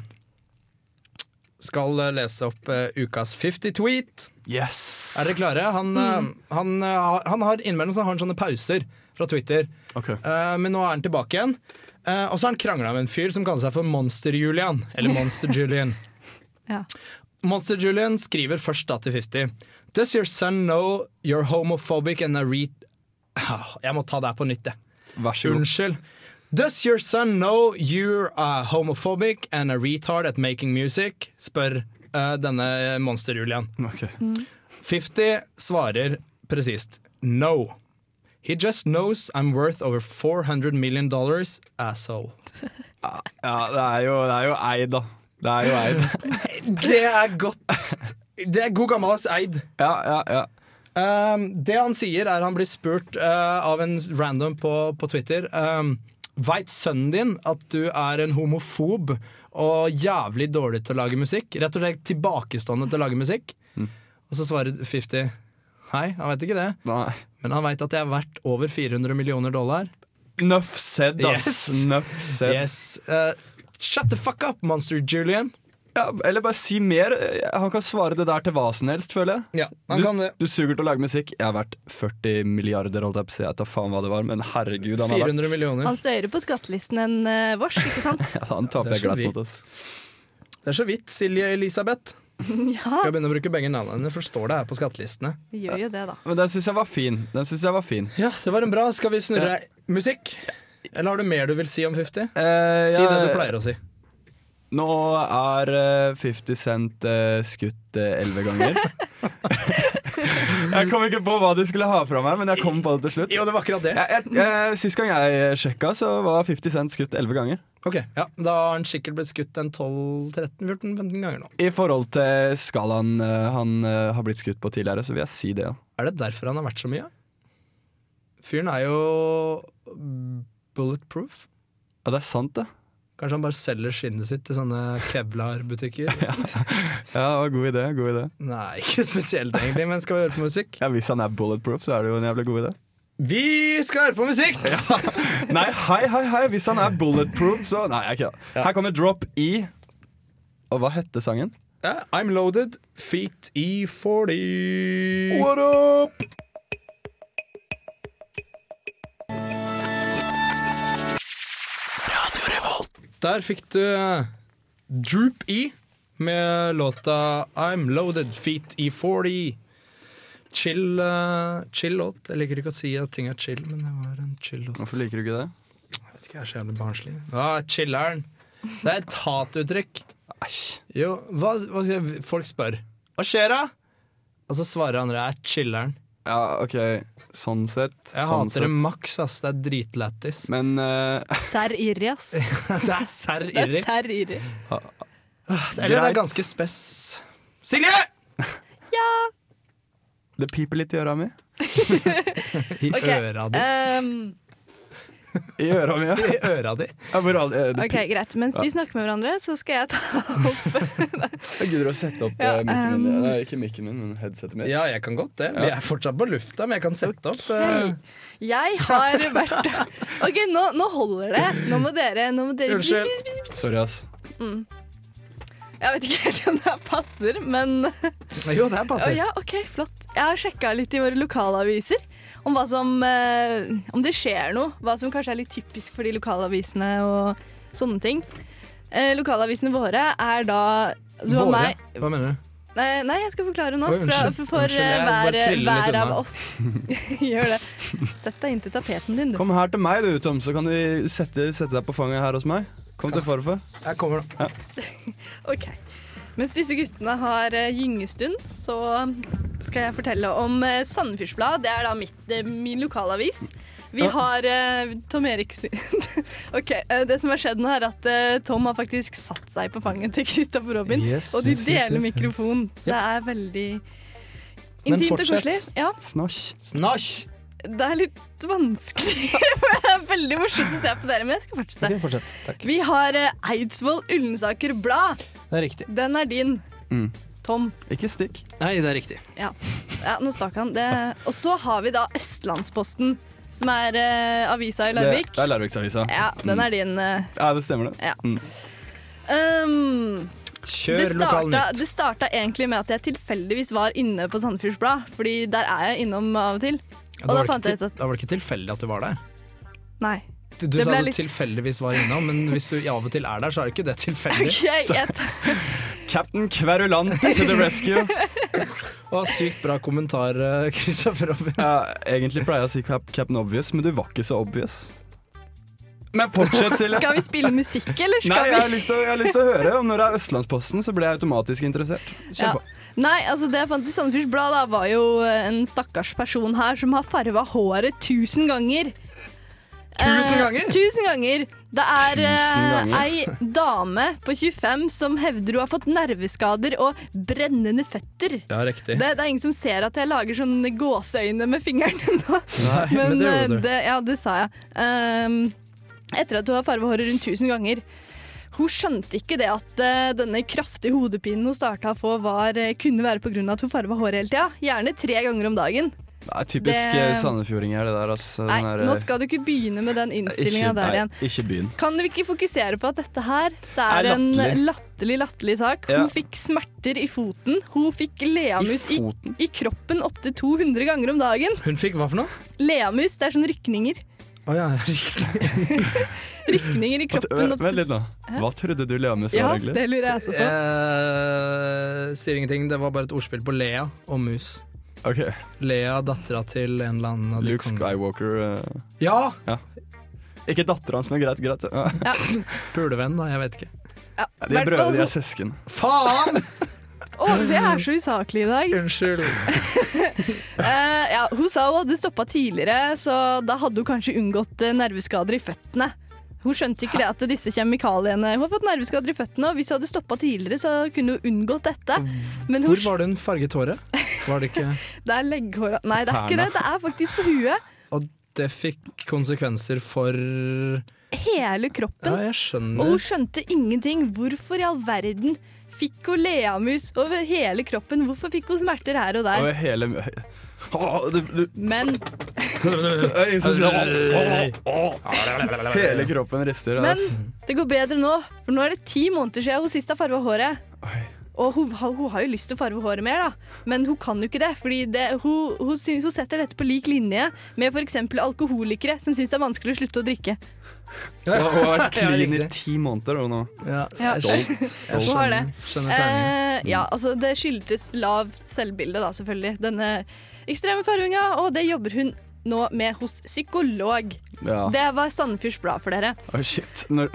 skal eh, lese opp eh, ukas 50 tweet.
Yes.
Er dere klare? Han, eh, han, eh, har- han har innimellom så har han sånne pauser fra Twitter.
Ok.
Eh, men nå er han tilbake igjen. Eh, og så har han krangla med en fyr som kaller seg for Monster-Julian. Eller Monster-Julian.
Ja.
Monster-Julian skriver først da til 50. Does your son know you're homophobic and a re... Ah, Jeg må ta det her på nytt, jeg.
Vær så god.
Unnskyld. Does your son know you're a homophobic and a retard at making music? Spør eh, denne monster-Julian.
Ok.
50 svarer presist no. He just knows I'm worth over 400 million dollars, asshole.
Ja, det er jo, det er jo eid, da. Det er jo eid.
<laughs> Det er godt. <laughs> Det er god gammeldags eid.
Ja, ja, ja.
Um, det han sier, er han blir spurt uh, av en random på, på Twitter. Um, Veit sønnen din at du er en homofob og jævlig dårlig til å lage musikk? Rett og slett tilbakestående til å lage musikk? Og så svarer 50 Hei, han veit ikke det,
Nei.
men han veit at jeg er verdt over 400 millioner dollar.
Nuff said, ass.
Yes.
Nuff said.
Yes. Uh, shut the fuck up, monster Julian.
Ja, eller bare si mer. Eh, Han kan svare det der til hva som helst, føler
Ja,
jeg.
han
du,
kan det.
du suger til å lage musikk. Jeg har vært 40 milliarder, holdt jeg på å si. Jeg tar faen hva det var, men herregud, han har vært
400 millioner.
Han står høyere på skattelisten enn eh, vårs, ikke sant?
<laughs> ja, Han taper
Det
jeg
er så
glatt
vidt.
mot oss.
Det er så vidt Silje Elisabeth.
<laughs> Ja,
Skal begynne å bruke begge navnene hennes, for det står det her på skattelistene.
de gjør jo det, da.
Men den syns jeg var fin. Den synes jeg var fin.
Ja, det var en bra. Skal vi snurre musikk? Eller har du mer du vil si om 50?
Eh,
Si
jeg-
det du pleier å si.
Nå er eh, 50 Cent eh, skutt elleve ganger. <laughs> jeg kom ikke på hva de skulle ha fra meg, men jeg kom på det til slutt.
Jo, det var akkurat det.
Jeg, jeg, jeg, sist gang jeg sjekka, så var 50 Cent skutt elleve ganger.
Ok, ja, Da har han sikkert blitt skutt en 12-13-14-15 ganger nå.
I forhold til skalaen eh, han eh, har blitt skutt på tidligere, så vil jeg si det, ja.
Er det derfor han har vært så mye? Fyren er jo bulletproof.
Ja, det er sant, det.
Kanskje han bare selger skinnet sitt til sånne Kevlar-butikker?
Ja, det var god idé, god idé.
Nei, ikke spesielt egentlig, men skal vi høre på musikk?
Ja, Hvis han er bulletproof, så er det jo en jævlig god idé.
Vi skal høre på musikk!
Nei, hei, hei, hei, hvis han er bulletproof, så Nei, jeg kødder. Her kommer Drop E. Og hva hette sangen?
Ja, I'm loaded, feet i 40
What up?
Der fikk du Droop E med låta I'm Loaded Feet E40. Chill, eh, chill låt. Jeg liker ikke å si at ting er chill, men det var en chill låt.
Hvorfor liker du ikke det?
Jeg vet ikke, jeg er så jævlig barnslig. Ja, chiller'n. Det er et hatuttrykk. Jo, hva, hva skal jeg, folk spør Hva skjer da? Og så svarer han det er chiller'n.
Ja, OK. Sånn sett.
Jeg
sånn
hater det
sett.
maks, ass. Det er dritlættis.
Men eh, <laughs>
Serr irri, ass.
<laughs> Det er serr
Det er
irri.
serr irri.
Eller det
greit.
er ganske spess. Silje!
det piper litt i øra mi.
I
Ok,
øra di.
ehm,
I øra mi, ja.
I øra di.
ja hvor all, eh, det
ok, Greit. Mens de snakker med hverandre, så skal jeg ta <laughs>
Jeg gidder å sette opp
Ja,
eh, mikken min.
um,
Nei, ikke mikken min, men headsetet mitt.
Ja, jeg kan godt det. Vi er fortsatt på lufta, men jeg kan sette opp. eh,
Jeg har vært
<laughs>
OK, nå, nå holder det. Nå må dere, nå må
eh,
dere
Unnskyld.
Sorry, ass.
Jeg vet ikke helt om det her passer, men
Jo, det her
Å
passer.
ja, OK, flott. Jeg har sjekka litt i våre lokalaviser om hva som eh, Om det skjer noe. Hva som kanskje er litt typisk for de lokalavisene og sånne ting. Eh, lokalavisene våre er da du har
Våre?
meg-
Hva mener du?
Nei, nei, jeg skal forklare nå.
Oi,
Fra,
unnskyld.
for for
Unnskyld,
eh,
jeg bare
hver,
triller litt
hver av
unna.
oss. <laughs> Gjør det. Sett deg inn til tapeten din, du.
Kom her til meg, du, Tom, så kan du sette, sette deg på fanget her hos meg. Kom til farfar.
Jeg kommer nå.
Ok. Mens disse guttene har eh, gyngestund, så skal jeg fortelle om eh, Sandefjordsblad. Det er da mitt, eh, min lokalavis. Vi har eh, Tom Erik sin <laughs> OK. eh, det som har skjedd nå, er at eh, Tom har faktisk satt seg på fanget til Kristoffer Robin,
Yes,
og de
yes, yes,
deler
yes, yes.
mikrofon. Det er veldig
Men
intimt og
fortsett.
koselig. Ja.
Snasj.
Snasj!
Det er litt vanskelig, <laughs> for det er veldig morsomt å se på dere, men jeg skal fortsette.
Ok, fortsett. Takk.
Vi har eh, Eidsvoll Ullensaker Blad.
Det er riktig.
Den er din,
Mm.
Tom.
Ikke stikk.
Nei, det er riktig.
Ja, ja nå stakk han. Det. Og så har vi da Østlandsposten, som er eh, avisa i Larvik.
Det, det er Larviksavisa.
Ja, den er din. eh.
Ja, det stemmer det.
Ja.
Mm.
Um,
Kjør
det starta,
lokalnytt.
det starta egentlig med at jeg tilfeldigvis var inne på Sandefjords Blad, fordi der er jeg innom av og til.
Ja,
Og
da,
da
var
fant
det
jeg
ikke,
ut
til- da var det ikke tilfeldig at du var der.
at nei. <laughs>
Du, du
Det
sa
ble
du
litt-
tilfeldigvis var innom, men hvis du av og til er der, så er det ikke det tilfeldig.
<laughs> Ok, jeg tar
Captain Kverulant to the
<laughs>
rescue.
Å, sykt bra kommentar, Kristoffer Robin.
Ja, egentlig pleier jeg å si Cap Captain Obvious, men du var ikke så obvious. Men fortsett, Silje.
Skal vi spille musikk, eller skal
Nei,
vi
jeg har, lyst til, å- jeg har lyst til å høre. Og når det er Østlandsposten, så blir jeg automatisk interessert.
Ja. Nei, altså det jeg fant i Sandefjords Blad, da, var jo eh, en stakkars person her som har farga håret tusen ganger.
Tusen
Eh,
ganger?
tusen ganger. Det er
Tusen
eh,
ganger.
ei dame på 25 som hevder hun har fått nerveskader og brennende føtter.
Ja, riktig.
Det, det er ingen som ser at jeg lager sånne gåseøyne med fingrene <laughs> nå.
Nei, men det gjorde
eh,
du.
ja, det sa jeg. Ehm, etter at hun har farga håret rundt tusen ganger. Hun skjønte ikke det at eh, denne kraftige hodepinen hun starta å få, var, eh, kunne være pga. at hun farga håret hele tida. Gjerne tre ganger om dagen.
Det er typisk
Det-
det... sandefjordinger, det der. Altså,
Nei,
den der,
nå skal du ikke begynne med den innstillinga
Ikke-
der
nei,
igjen.
Ikke begynn.
Kan du ikke fokusere på at dette her det
Er
er, en
latterlig.
latterlig, latterlig sak?
Ja.
Hun fikk smerter i foten. Hun fikk leamus
I
i, i, kroppen opptil 200 ganger om dagen.
Hun fikk hva for noe?
Leamus, det er sånne rykninger.
Å ja, <laughs> riktig.
Rykninger i kroppen
Vent
opptil
vent litt nå. Hva trodde du Leamus
Ja,
var egentlig?
det lurer jeg også på.
Eh, sier ingenting. Det var bare et ordspill på Lea og mus.
Ok.
Lea, dattera til en eller annen av de
Luke Skywalker. eh,
Ja!
ja. Ikke dattera hans, men greit, greit. Ja.
Pulevenn, da. Jeg vet ikke.
Ja, De er brødre, de er søsken.
Faen!
Å, det er så usaklig i dag.
<laughs>
<laughs>
Eh,
Unnskyld.
ja, hun sa hun hadde stoppa tidligere, så da hadde hun kanskje unngått eh, nerveskader i føttene. Hun skjønte ikke det at disse kjemikaliene Hun har fått nerveskader i føttene, og hvis hun hadde stoppa tidligere, så kunne hun unngått dette. Men hun,
Hvor var det hun farget håret? Var det ikke
det er legghåra Nei, det er ikke det. Det er faktisk på huet.
Og det fikk konsekvenser for Ja,
Hele kroppen.
jeg
Og hun
skjønner.
skjønte ingenting. Hvorfor i all verden fikk hun leamus over hele kroppen? Hvorfor fikk hun smerter her
Og
og der?
hele Åh, du, du.
Men
Jeg synes det var- Åh, åh. Hele kroppen rister.
Men
ass.
det går bedre nå, for nå er det ti måneder siden hun sist har farga håret. Og hun, har- hun har jo lyst til å farge håret mer, da. men hun kan jo ikke det. Fordi det, hun, hun, syns, hun setter dette på lik linje med f.eks. alkoholikere som syns det er vanskelig å slutte å drikke.
Hun hun har
Ja,
vært clean i
riktig.
ti måneder hun nå.
Ja.
Ja.
Stolt.
Hun
stolt.
har det.
Skjønner
Eh, ja, altså det skyldtes lavt selvbilde, da, selvfølgelig. Denne ekstreme farvinga, og det jobber hun nå med hos psykolog.
Ja.
Det var Sandefjords Blad for dere.
Åh, shit. Når,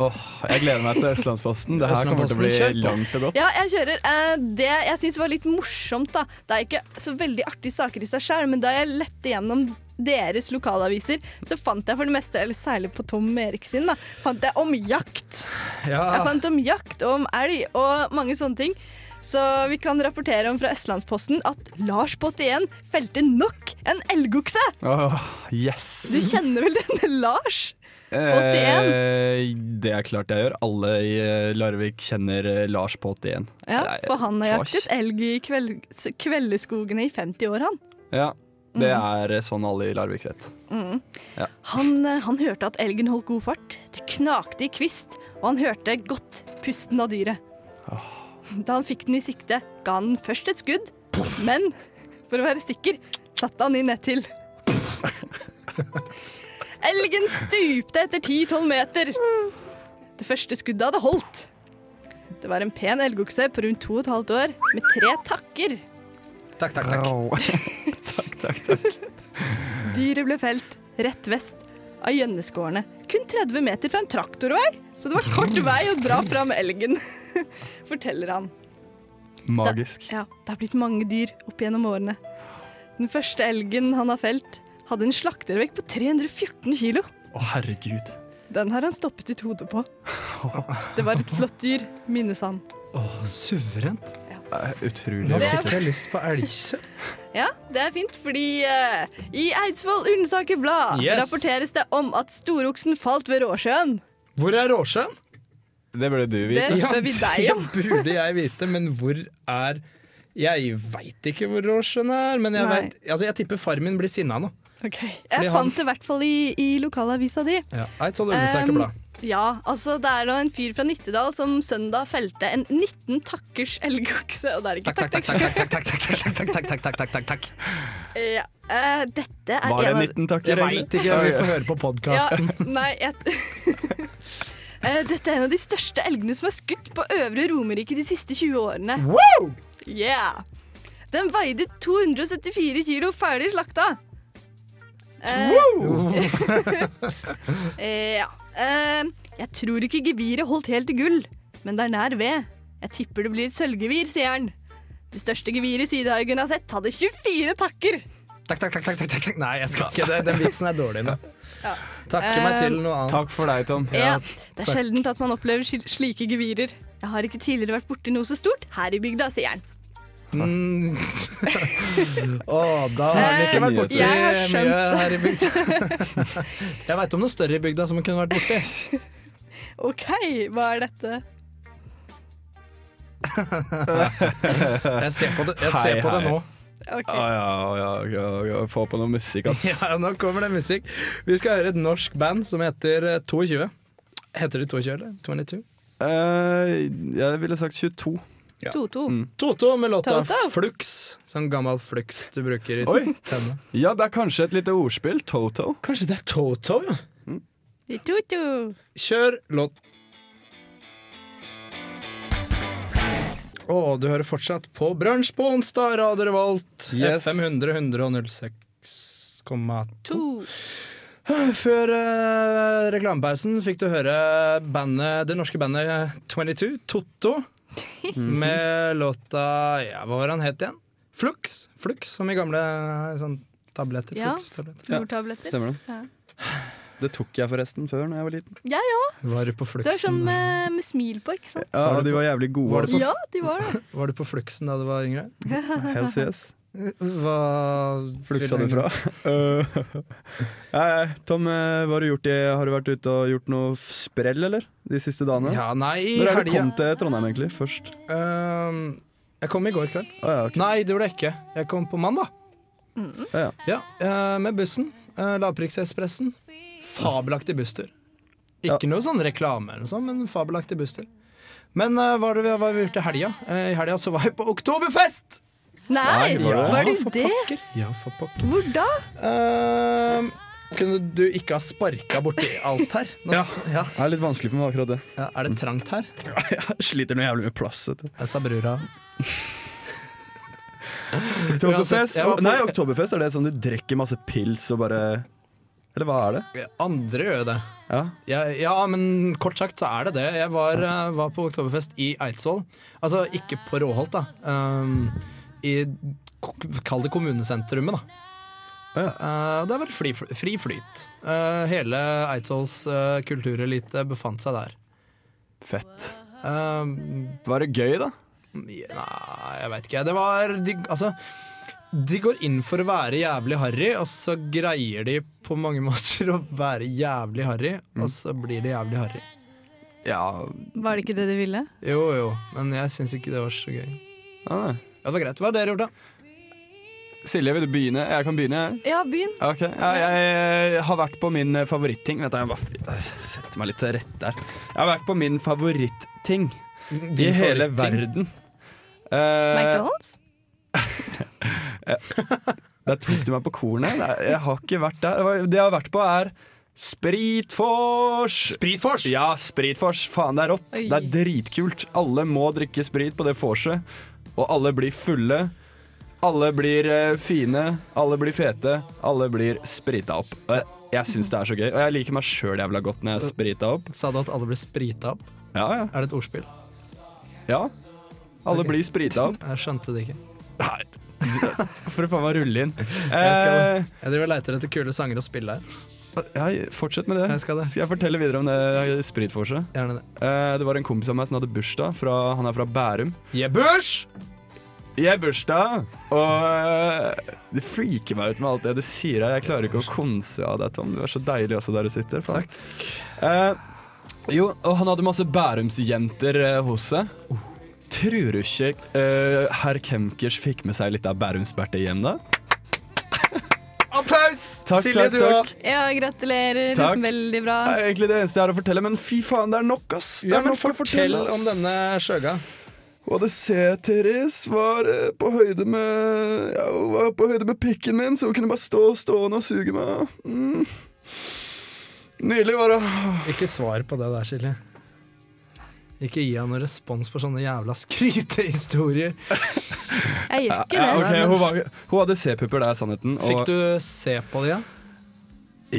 åh, jeg gleder meg til Østlandsposten. Det her kommer til å
Østlandsposten,
bli
kjør på.
langt og godt.
Ja, jeg kjører. Eh, det jeg syns var litt morsomt, da Det er ikke så veldig artige saker i seg sjøl, men da jeg lette gjennom deres lokalaviser, så fant jeg for det meste, eller særlig på Tom Erik sin, da, fant jeg om jakt. Jeg fant om jakt og om elg og mange sånne ting. Så vi kan rapportere om fra Østlandsposten at Lars 81 felte nok en elgokse!
Åh, yes!
Du kjenner vel denne Lars?
Eh, det er klart jeg gjør. Alle i eh, Larvik kjenner eh, Lars på 81.
Ja, for han har
Lars.
jaktet elg i kveld kveldeskogene i 50 år, han.
Ja, det
Mhm.
er eh, sånn alle i Larvik vet.
Mm.
Ja.
Han, eh, han hørte at elgen holdt god fart. Det knakte i kvist, og han hørte godt pusten av dyret. Da han fikk den i sikte, ga han den først et skudd, men for å være sikker satte han i nett til. Elgen stupte etter 10-12 meter. Det første skuddet hadde holdt. Det var en pen elgokse på rundt 2 15 år med tre takker.
Takk, takk, takk.
Dyret ble felt rett vest av Gjønneskårene. Kun 30 meter fra en traktorvei, så det var kort vei å dra fram elgen, <laughs> forteller han.
Magisk.
Ja, det har blitt mange dyr opp gjennom årene. Den første elgen han har felt, hadde en slaktervekt på 314 kilo.
Å, herregud.
Den her han stoppet ut hodet på. Det var et flott dyr, minnes han.
Å, suverent.
Utrolig.
Nå
Det er-
fikk jeg lyst på elgkjøtt.
Ja, det er fint, fordi eh, i Eidsvoll Ullensaker Blad
Yes.
rapporteres det om at storoksen falt ved Råsjøen.
Hvor er Råsjøen?
Det burde du
vite. Det spør vi deg om.
Det <laughs> burde jeg vite, men hvor er Jeg veit ikke hvor Råsjøen er, men jeg,
Nei.
vet, altså, jeg tipper far min blir sinna nå. Fordi
Jeg
han-
fant det i hvert fall i, i lokalavisa di.
Ja. Eidsvoll Ullensaker
Um,
Blad.
Ja, altså det er nå en fyr fra Nittedal som søndag felte en 19 takkers elgokse. Og det er ikke takk, takk, takk. Ja, eh, dette er
Var det
en av-
19 takker?
Jeg veit ikke, vi får høre på podkasten.
Ja, nei, jeg... <laughs> Eh, Dette er en av de største elgene som er skutt på Øvre Romerike de siste 20 årene.
Wow!
Yeah! Den veide 274 kilo ferdig slakta. Eh, <laughs> eh, ja. Eh, jeg tror ikke geviret holdt helt til gull, men det er nær ved. Jeg tipper det blir et sølvgevir, sier han. Det største geviret Sydhaugen har sett, hadde 24 takker.
Takk, takk, takk, takk, takk, takk. Nei, jeg skal ikke det. Den vitsen er dårlig nå. Takke meg
Eh,
til noe annet.
Takk for deg, Tom.
Ja, det er sjeldent at man opplever sl- slike gevirer. Jeg har ikke tidligere vært borti noe så stort her i bygda, sier han.
Mm. <laughs> Åh, da har den
Eh,
ikke vært borti
jeg har skjønt
mye her i bygda. <laughs> Jeg veit om noe større i bygda som hun kunne vært borti.
OK, hva er dette?
Jeg ser på det, jeg ser
Hei,
på det
hei.
nå.
Ok.
Å, ja, å, ja, ja, ja, få på noe musikk, ass.
Ja, nå kommer det musikk. Vi skal høre et norsk band som heter eh, 22. Heter de 22 eller 22?
Eh, jeg ville sagt 22.
Ja.
2-2.
Mm.
Toto med låta
Toto.
Flux. Sånn gammel flux du bruker i
Oi.
tenna.
Ja, det er kanskje et lite ordspill. Toto.
Kanskje det er Toto, ja.
De to-to.
Kjør låt. Og du hører fortsatt på Brunsj på onsdag, Radio Revolt.
Yes.
FM 100 100 og 06,2.
To.
Før uh, reklamepausen fikk du høre bandet, det norske bandet 22, Totto,
Mhm.
med låta ja, Hva var han het igjen? Flux, Flux, som i gamle sånn, tabletter.
Ja.
Flux, tabletter.
Flortabletter.
Stemmer det?
Ja.
Det tok jeg forresten før når jeg var liten.
Jeg òg.
Var du på
Det er
Fluxen?
sånn med, med smil på, ikke sant?
Ja,
Var
og
du
de
på-
var jævlig gode.
var du
altså.
Ja, de var det.
Var du på Fluxen da du var yngre?
Hells yes.
Hva
Fluksa du fra? <laughs> Nei, nei, Tom, eh, hva har du gjort i Har du vært ute og gjort noe f- sprell, eller? De siste dagene?
Ja, nei, i
Når er du
helga.
kom til Trondheim, egentlig? Først?
Ehm, jeg kom i går kveld.
Å ja, ok.
Nei, det gjorde jeg ikke. Jeg kom på mandag.
Mm.
Ja, ja.
eh, med bussen. Uh, Lavprisekspressen. Fabelaktig busstur.
Ja.
Ikke noe sånn reklame, eller noe sånt, men fabelaktig busstur. Men eh, hva har vi, hva har vi gjort i helga? Eh, I helga så var jeg på oktoberfest!
Nei,
<laughs> Nei, var det-
var det
for
det?
pokker. Ja, for pokker.
Hvor da?
Ehm, kunne du ikke ha sparka borti alt her? Nå,
Ja.
ja.
Det er litt vanskelig for meg akkurat det.
ja, Er det trangt her?
Jeg <laughs> sliter noe jævlig med plass. vet du.
Jeg sa brura.
Oktoberfest?
jeg var på-
Nei, oktoberfest er det sånn du drikker masse pils og bare Eller hva er det?
Andre gjør jo det.
Ja.
Ja, ja, men kort sagt så er det det. Jeg var, eh, var på oktoberfest i Eidsvoll. Altså ikke på Råholt, da. Um, I ko- Kall det kommunesentrumet, da.
Ja.
Eh, der var det fri, fri flyt. Eh, hele Eidsvolls eh, kulturelite befant seg der.
Fett.
Um,
Var det gøy, da?
ja, Nei, jeg veit ikke. Det var de, Altså, de går inn for å være jævlig harry, og så greier de på mange <laughs> måter å være jævlig harry, og så blir det jævlig harry.
Ja
Var det ikke det de ville?
Jo, jo, men jeg syns ikke det var så gøy.
ah, nei.
Ja, det var greit. Hva har dere gjort, da?
Silje, vil du begynne? Jeg kan begynne. jeg.
Ja, byen.
Ja, ok. Ja, jeg eh, har vært på min favoritting. Vent, da, jeg må bare f- sette meg litt til rette der. Jeg har vært på min favoritting i hele verden. Eh,
McDonald's?
der tok du meg på kornet. Nei, Jeg har ikke vært der. Hva- Det jeg har vært på, er Spritfors!
Spritfors!
Ja, Spritfors. Faen, det er rått.
Oi.
Det er dritkult. Alle må drikke sprit på det vorset, og alle blir fulle. Alle blir eh, fine, alle blir fete, alle blir sprita opp. Og jeg, jeg syns det er så gøy, og jeg liker meg sjøl jævla godt når jeg er sprita opp.
Sa du at alle ble sprita opp?
Ja, ja.
Er det et ordspill?
ja. Alle
Ok.
blir sprita opp.
<laughs> Jeg skjønte det ikke.
Nei, For å faen meg rulle inn.
Jeg, skal,
Eh,
jeg driver og leter etter kule sanger å spille her.
ja, fortsett med det.
Jeg skal det.
Skal jeg fortelle videre om det spritforset?
Gjerne det.
Eh, det var en kompis av meg som hadde bursdag. Fra, han er fra Bærum.
Jeg børs!
Jeg har bursdag, og eh, det freaker meg ut med alt det du sier her. Jeg klarer ikke å konse av deg, Tom. Du er så deilig også der du sitter. Faen. Eh, jo, og han hadde masse Bærumsjenter eh, hos seg. Tror du ikke eh, herr Kemkers fikk med seg litt av Bærumsberte hjem, da?
Applaus!
Takk, takk, takk.
Ja, gratulerer.
Takk.
Veldig bra.
Det er egentlig det eneste jeg har å fortelle, men fy faen, det er nok, ass. Det
Ja,
er
men
nok å
fortell
fortelle, ass.
om denne sjøga.
Og det ser Therese var eh, på høyde med ja, Hun var på høyde med pikken min, så hun kunne bare stå stående og suge meg. Mm. Nydelig var det.
Ikke svar på det der, Silje. Ikke gi han noen respons på sånne jævla skrytehistorier.
Jeg gjør ikke det.
Ja, ok, hun, var, hun hadde C-pupper, det er sannheten. Og,
Fikk du se på de, ja?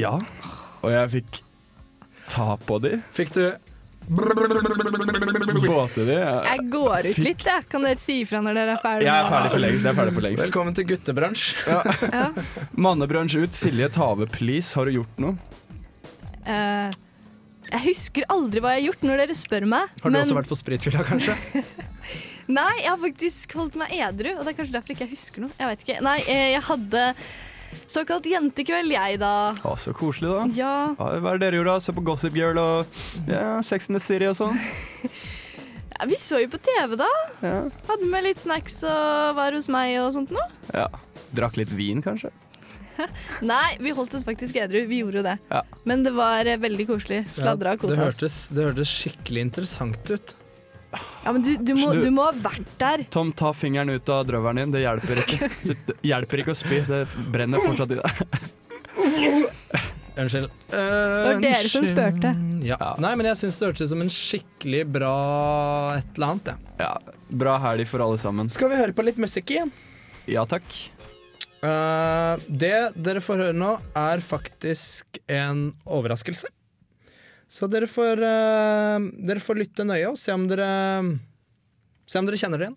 Ja. Og jeg fikk ta på de.
Fikk du
Båte de. Jeg,
Jeg går ut litt, jeg. Kan dere si ifra når dere er ferdig?
jeg er ferdig for lengst. Jeg er ferdig for lengst.
Velkommen til guttebransj.
Mannebransj ut. Silje Tave, please. Har du gjort noe?
Eh, jeg husker aldri hva jeg har gjort når dere spør meg.
Har du også vært på spritfylla, kanskje?
Nei, jeg har faktisk holdt meg edru, og det er kanskje derfor ikke jeg husker noe. Jeg vet ikke. Nei, eh, jeg hadde såkalt jentekveld, jeg, da.
Å, så koselig, da.
Ja,
Ja, Hva er det dere gjorde? da? Så på Gossip Girl og ja, Sex and the City og sånn?
ja, vi så jo på TV, da.
Ja.
Hadde med litt snacks og var hos meg og sånt noe.
ja. Drakk litt vin, kanskje?
Nei, vi holdt oss faktisk edru. Vi gjorde jo det.
Ja.
Men det var eh, veldig koselig. Sladra og
det,
kosa oss.
hørtes, det hørtes skikkelig interessant ut.
Ja, men du, du, må,
Du-
du må ha vært der.
Tom, ta fingeren ut av drøveren din. Det hjelper ikke. Det, det hjelper ikke å spy. Det brenner fortsatt i deg.
Unnskyld. Det
var dere som spurte.
Eh, Ja. Nei, men jeg syns det hørtes ut som en skikkelig bra et eller annet. Ja.
Ja, bra helg for alle sammen.
Skal vi høre på litt musikk igjen?
Ja takk.
Eh, det dere får høre nå, er faktisk en overraskelse. Så dere får, eh, dere får lytte nøye og se om dere Se om dere kjenner det igjen.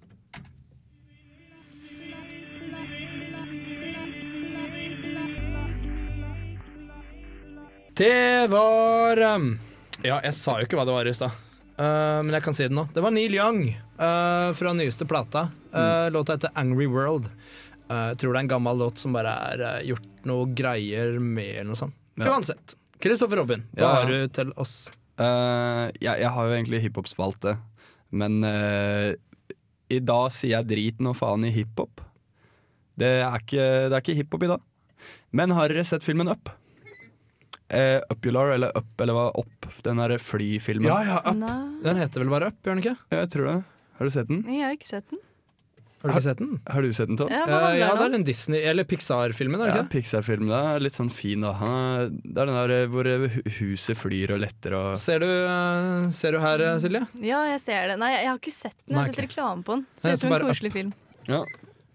Det var eh, Ja, jeg sa jo ikke hva det var i stad. Eh, men jeg kan si det nå. Det var Neil Young eh, fra nyeste plata.
Mm.
Eh, Låta heter Angry World. Eh, Jeg tror det er en gammel låt som bare er eh, gjort noe greier med eller noe sånt.
Ja.
Uansett. Kristoffer Robin, hva
Ja, ja.
har du til oss?
Eh, jeg, jeg har jo egentlig hiphop-spalte, men eh, i dag sier jeg driten og faen i hiphop. Det er ikke, det er ikke hiphop i dag. Men har dere sett filmen Up? Eh, Uppular, eller Up, eller hva? Opp, den derre flyfilmen.
Ja, ja, Up.
Nei,
Den heter vel bare Up, gjør den ikke?
Jeg tror det. Har du sett den?
jeg har ikke sett den.
Har du ikke sett den?
Har du sett den, Tom?
Ja, hva
Eh, ja, det
handler
er
den om?
den Disney- eller Pixar-filmen, er det
Ja,
ikke det?
Pixar-film. Det er litt sånn fin, da. Han er- Det er den der eh, hvor eh, hu- huset flyr og letter og
Ser du, eh, ser du her, eh, Silje?
Ja, jeg ser det. Nei, jeg har ikke sett den. Jeg
Nei,
har sett
ok.
reklame på den.
Nei,
Ser
jeg
ut som
skal
en
bare
koselig film.
ja.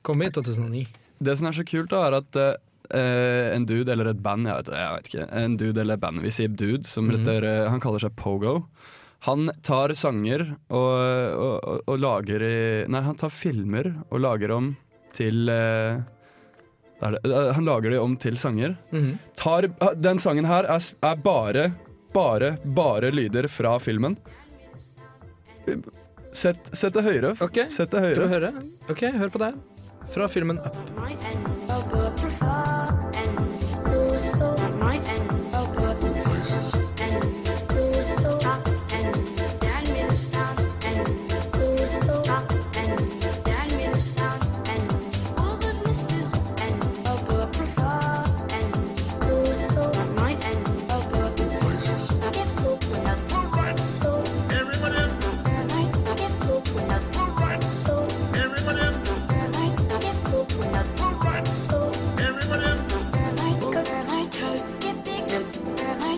Kom i 2009.
Det som er så kult, da, er at eh, en dude eller et band jeg vet, jeg vet ikke, en dude eller et band, Vi sier dude, som
Mhm.
heter, eh, han kaller seg Pogo. Han tar sanger og, og, og, og lager i Nei, han tar filmer og lager om til eh, hva er det, Eh, Han lager de om til sanger.
Mhm.
Tar, den sangen her er, s- er bare, bare, bare lyder fra filmen. Sett, sett det høyere.
Ok,
Sett det høyere.
Skal vi høre? Ok, hør på det. Fra filmen Up.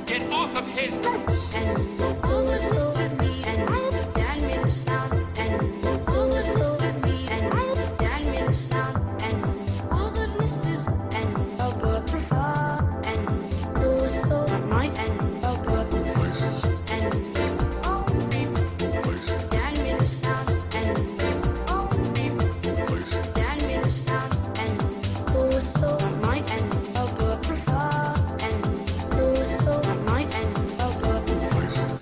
Get off of his
Thank you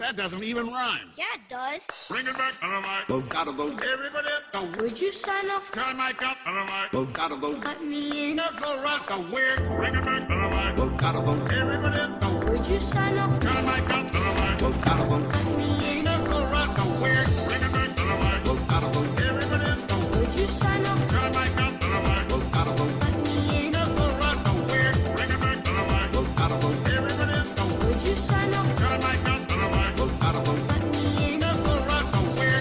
That doesn't even rhyme. Yeah, it does. Bring it back, Dynamite. Everybody up. Now, would you sign off? Dynamite up, Dynamite. Let me in. Knuckle rust, a weird. Bring it back, Dynamite. Everybody up. Now, would you sign off? Dynamite up, Dynamite. Let me in. Knuckle rust, a weird. Bring it back, Dynamite. Everybody up. Now, would you sign off? Dynamite up, Dynamite. Let me in. Knuckle rust, a weird. Bring it back, Dynamite. Everybody up. Now, would you sign off? Dynamite up, Dynamite. Let me in. Knuckle rust, a weird.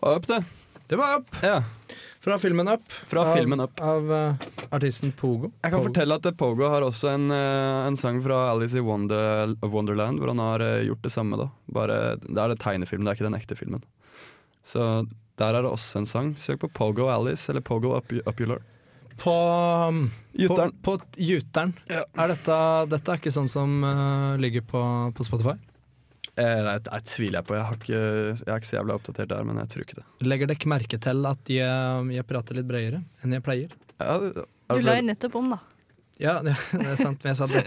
Var Up, det.
Det var Up.
Ja.
Fra filmen Up.
Fra
av,
filmen Up.
Av eh, artisten Pogo.
Jeg kan
Pogo.
fortelle at eh, Pogo har også en, eh, en sang fra Alice i Wonder, Wonderland hvor han har eh, gjort det samme. da Bare, Det er det tegnefilmen, det er ikke den ekte filmen. Så der er det også en sang. Søk på Pogo Alice eller Pogo Up, Upular.
På um,
Juteren.
På, på juteren. Er dette, dette er ikke sånn som eh, ligger på, på Spotify?
Eh, nei, det tviler jeg på. Jeg, har ikke, jeg er ikke så jævlig oppdatert der, men jeg tror ikke det.
Legger dere merke til at jeg, jeg prater litt bredere enn jeg pleier?
Ja, det- er
Du
det
la
flere-
jo nettopp om, da.
Ja, <laughs> det er sant, men jeg sa, det,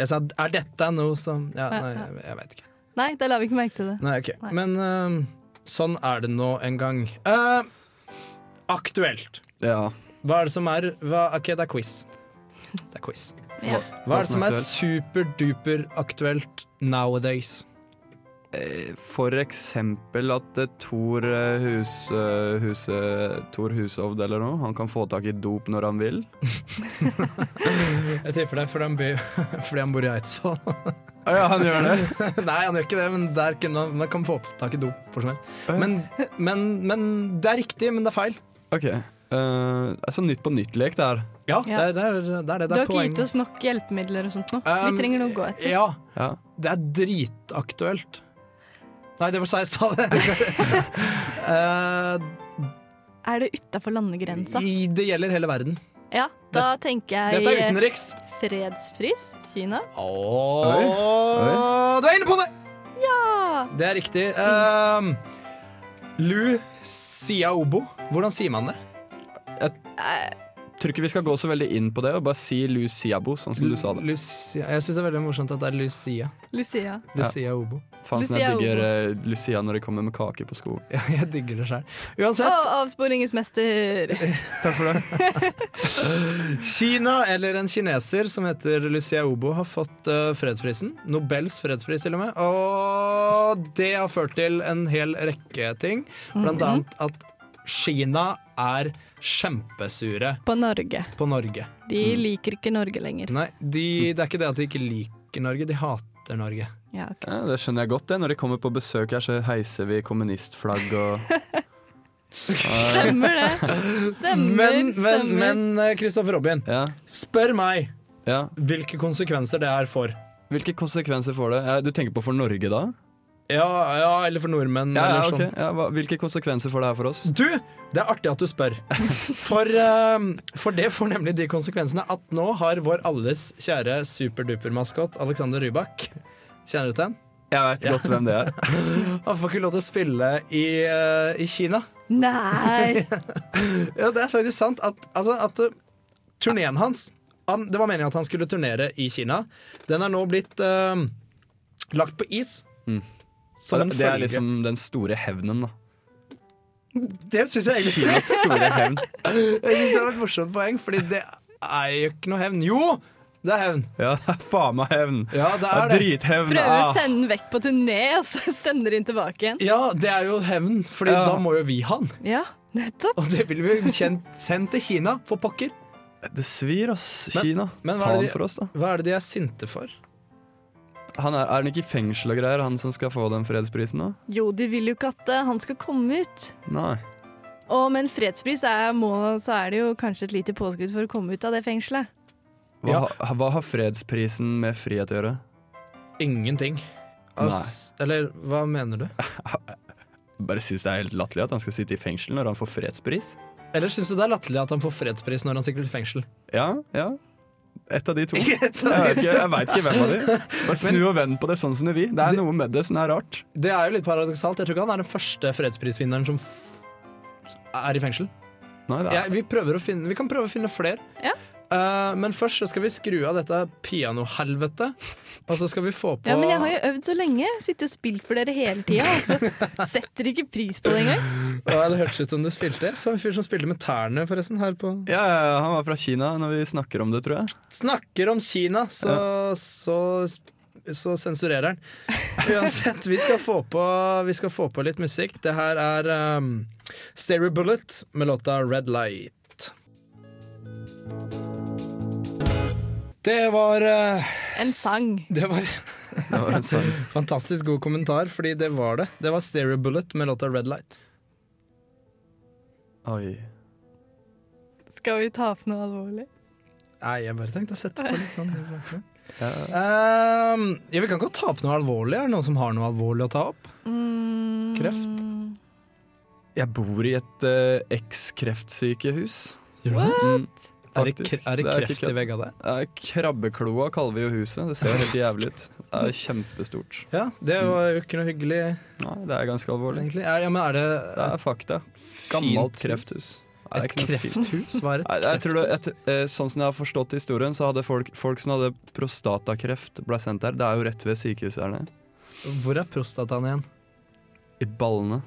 jeg sa er dette noe som ja, Nei, jeg, jeg veit ikke.
Nei, da la vi ikke merke til det.
Nei, ok. Men eh, sånn er det nå en gang. Eh, aktuelt.
Ja.
Hva er det som er hva, Ok, det er quiz. Det er quiz.
Ja.
Hva er det som er superduper aktuelt nowadays?
Eh, For eksempel at eh, Thor eh, Hus, eh, Huse, Thor Hushovd eller noe, han kan få tak i dop når han vil.
Jeg tipper det er fordi han, by, <laughs> fordi han bor i Eidsvoll. <laughs>
Ah, ja, han gjør det?
Nei, han gjør ikke det, men der kunne han, man kan få tak i dop hvor som helst. Men, men, men det er riktig, men det er feil.
<laughs> Ok. eh, det er sånn Nytt på nytt-lek, det her.
Ja,
Ja.
Det, er, det, er, det er det.
Du
Det
har
er
ikke gitt
poenget.
oss nok hjelpemidler og sånt nå.
Um,
vi trenger noe å gå etter.
Ja,
Ja.
det er dritaktuelt. Nei, det var sa jeg i stad. <laughs> Eh,
Er det utafor landegrensa?
i- det gjelder hele verden.
Ja, da tenker jeg
Dette er utenriks.
fredspris. Kina.
Ååå
Oi,
Du er inne på det!
Ja!
Det er riktig. Um, Lu Xiaobo. Hvordan sier man det?
Tror ikke vi skal gå så veldig inn på det, og bare si Luciabo, sånn som du sa det.
Lucia. Jeg syns det er veldig morsomt at det er Lucia.
Lucia.
Lucia Obo. <laughs>
Faen, sånn jeg
Luciabo.
digger eh, Lucia når de kommer med kake på skolen.
Ja, jeg digger det sjøl. Uansett,
Og avsporingens mester.
Takk for det.
Kina, eller en kineser som heter Lucia Obo, har fått eh, fredsprisen. Nobels fredspris, til og med. Og det har ført til en hel rekke ting.
Mhm.
Blant annet at Kina er kjempesure
På Norge.
på Norge.
De
Mm.
liker ikke Norge lenger.
Nei, de, det er ikke det at de ikke liker Norge, de hater Norge.
Ja, ok.
Ja, det skjønner jeg godt, det. Når de kommer på besøk her, så heiser vi kommunistflagg og <laughs>
Stemmer det. Stemmer,
Men, men,
stemmer.
men eh, Kristoffer Robin,
Ja.
spør meg
ja.
hvilke konsekvenser det er for.
Hvilke konsekvenser får det? Ja, du tenker på for Norge, da?
Ja, ja eller for nordmenn,
Ja, ja,
eller
ok.
sånn.
ja, hva, hvilke konsekvenser får det her for oss?
Du, det er artig at du spør. For, eh, for det får nemlig de konsekvensene at nå har vår alles kjære superduper-maskot Alexander Rybak Kjenner du til han?
Jeg veit godt hvem det
<laughs>
er.
Han får ikke lov til å spille i, eh, i Kina. <laughs>
Nei!
Ja, det er faktisk sant at, altså, at uh, turneen hans han, Det var meningen at han skulle turnere i Kina. Den er nå blitt eh, lagt på is. Som en
Mm. Det er
Sånn følge.
liksom den store hevnen,
<laughs>
da.
Det syns jeg egentlig
Kinas store hevn.
<laughs> jeg synes det var et morsomt poeng, Fordi det er jo ikke noe hevn. Jo! Det er hevn.
<laughs> Ja, faen meg hevn.
Ja, det er det.
Drithevn.
Prøver å
ah.
sende den vekk på turné, og så sender den tilbake igjen.
Ja, det er jo hevn, Fordi
Ja.
da må jo vi ha den.
Ja, nettopp.
Og det vil vi jo kjent, sendt til Kina, for pokker.
Det svir, ass.
Men-
Kina.
men hva er
Ta
det
han
de-
for oss, da.
Hva er det de er sinte for?
Han er, er han ikke i fengsel og greier, han som skal få den fredsprisen, da?
Jo, de vil jo ikke at eh, han skal komme ut.
Nei.
Og med en fredspris er, må, så er det jo kanskje et lite påskudd for å komme ut av det fengselet.
Hva,
Ja.
ha- hva har fredsprisen med frihet å gjøre?
Ingenting. Ass, eller hva mener du?
Bare syns det er helt latterlig at han skal sitte i fengsel når han får fredspris.
Ellers syns du det er latterlig at han får fredspris når han sitter i fengsel?
Ja, ja. Et av de
<laughs>
to. Jeg
Et
vet
av de to.
ikke, jeg vet ikke hvem av de.
<laughs>
Bare snu og vend på det sånn som du vil. Det er noe med det som er rart.
Det er jo litt paradoksalt. Jeg tror ikke han er den første fredsprisvinneren som f- er i fengsel.
Nei, det er.
Jeg, vi, prøver å finne, vi kan prøve å finne flere. Eh, men først så skal vi skru av dette pianohelvetet, og så skal vi få på
Ja, men jeg har jo øvd så lenge. Sittet og spilt for dere hele tida. Og så setter dere ikke pris på det engang.
Ja, Det hørtes ut som du spilte. Så en fyr som spilte med tærne, forresten. her på...
Ja, ja, han var fra Kina når vi snakker om det, tror jeg.
Snakker om Kina, så, så, så sensurerer han. Uansett, vi skal, få på, vi skal få på litt musikk. Det her er um, Stereo Bullet med låta Red Light. Det var eh,
En sang.
Det var,
var en
<laughs>
sang.
Fantastisk god kommentar, fordi det var det. Det var Stereo Bullet med låta Red Light.
Oi.
Skal vi ta opp noe alvorlig?
Nei, jeg bare tenkte å sette på litt sånn.
Ja.
Ehm, ja, vi kan godt ta opp noe alvorlig. Er det noen som har noe alvorlig å ta opp?
Mm.
Kreft?
Jeg bor i et eh, ekskkreftsykehus.
Gjør du det?
Mm,
Er det,
faktisk.
kre- er det
ikke
kreft i veggene der?
Det er krabbekloa kaller vi jo huset. Det ser helt jævlig ut. Det er kjempestort.
Ja, det var jo ikke noe hyggelig,
Nei, det er ganske alvorlig.
egentlig. Er, ja, men er det
Det er fakta.
Fint
Gammelt
hus.
krefthus. Nei,
et
det er ikke noe fint.
krefthus? Hva er
<laughs> Nei,
et
jeg tror det,
krefthus?
jeg, t- eh, sånn som jeg har forstått historien, så hadde folk, folk som hadde prostatakreft, ble sendt der. Det er jo rett ved sykehuset her nede.
Hvor er prostataen igjen?
I ballene.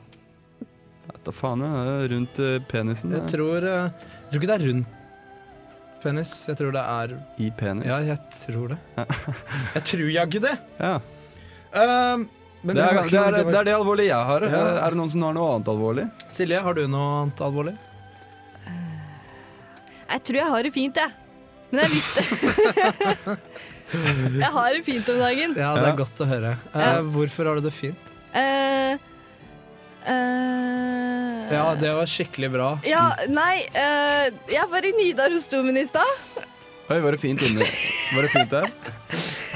Jeg vet da faen, jeg. Rundt eh, penisen.
Jeg
Jeg
tror, eh, jeg tror ikke det er rund penis. Jeg tror det er
I penis.
Ja, jeg tror det. <laughs> Jeg tror jaggu det!
Ja.
Ehm, men
Det, er,
var ikke
det,
noe-
er,
var-
det er det alvorlige jeg har.
Ja.
Eh, Er det noen som har noe annet alvorlig?
Silje, har du noe annet alvorlig?
Jeg tror jeg har det fint, jeg. Men jeg har lyst til <laughs> Jeg har det fint om dagen.
Ja, det er godt å høre. Eh,
Ja.
Hvorfor har du det fint?
Eh, eh,
Ja, det var skikkelig bra.
ja, nei eh, Jeg var i Nidarosdomen i stad.
Oi, var det fint inne? Var det fint der?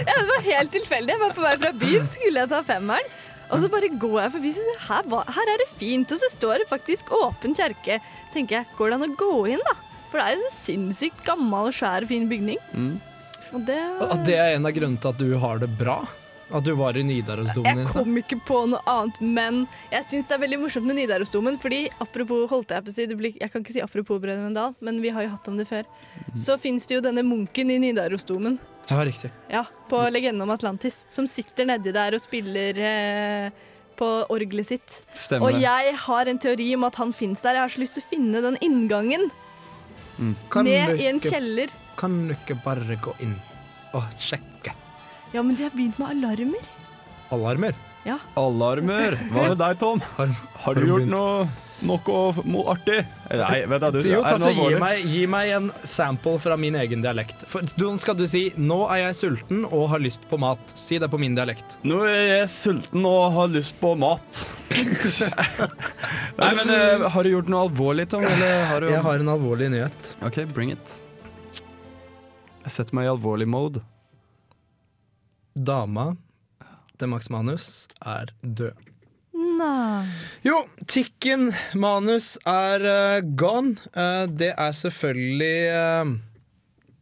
Ja, det var helt tilfeldig. Jeg var på vei fra byen, skulle jeg ta femmeren. Og så bare går jeg forbi og sier her, var- her er det fint. Og så står det faktisk åpen kjerke. Tenker jeg, går det an å gå inn, da? For det er jo så sinnssykt gammel, svær og fin bygning.
Mm.
Og det
At det er en av grunnene til at du har det bra? At du var i Nidarosdomen
Jeg
i stad?
kom ikke på noe annet, men jeg syns det er veldig morsomt med Nidarosdomen. Fordi apropos, holdt jeg på å si, det blir, jeg kan ikke si apropos Brødrene Dal, men vi har jo hatt om det før. Så fins det jo denne munken i Nidarosdomen,
Ja, riktig.
ja, på Legenden om Atlantis, som sitter nedi der og spiller eh, på orgelet sitt.
Stemmer
Og
det.
jeg har en teori om at han fins der. Jeg har så lyst til å finne den inngangen
Kan
ned
du
i en
ikke-
kjeller.
Kan du ikke bare gå inn og sjekke
Ja, men de har begynt med alarmer.
alarmer?
Ja.
Alarmer! Hva med deg, Tom?
Har,
Har du gjort noe, noe mo- artig? Nei, vet du,
Jo,
er det noe
altså, gi,
alvorlig?
meg, gi meg en sample fra min egen dialekt. For, du, skal du si 'nå er jeg sulten og har lyst på mat'? Si det på min dialekt.
Nå er jeg sulten og har lyst på
<laughs>
mat. Nei, men eh, Har du gjort noe alvorlig, Tom? Eller har du
Jeg har en alvorlig nyhet.
OK, bring it. Jeg setter meg i alvorlig mode.
Dama til Max Manus er død.
Nei.
Jo, Tikken Manus er eh, gone. Eh, det er selvfølgelig eh,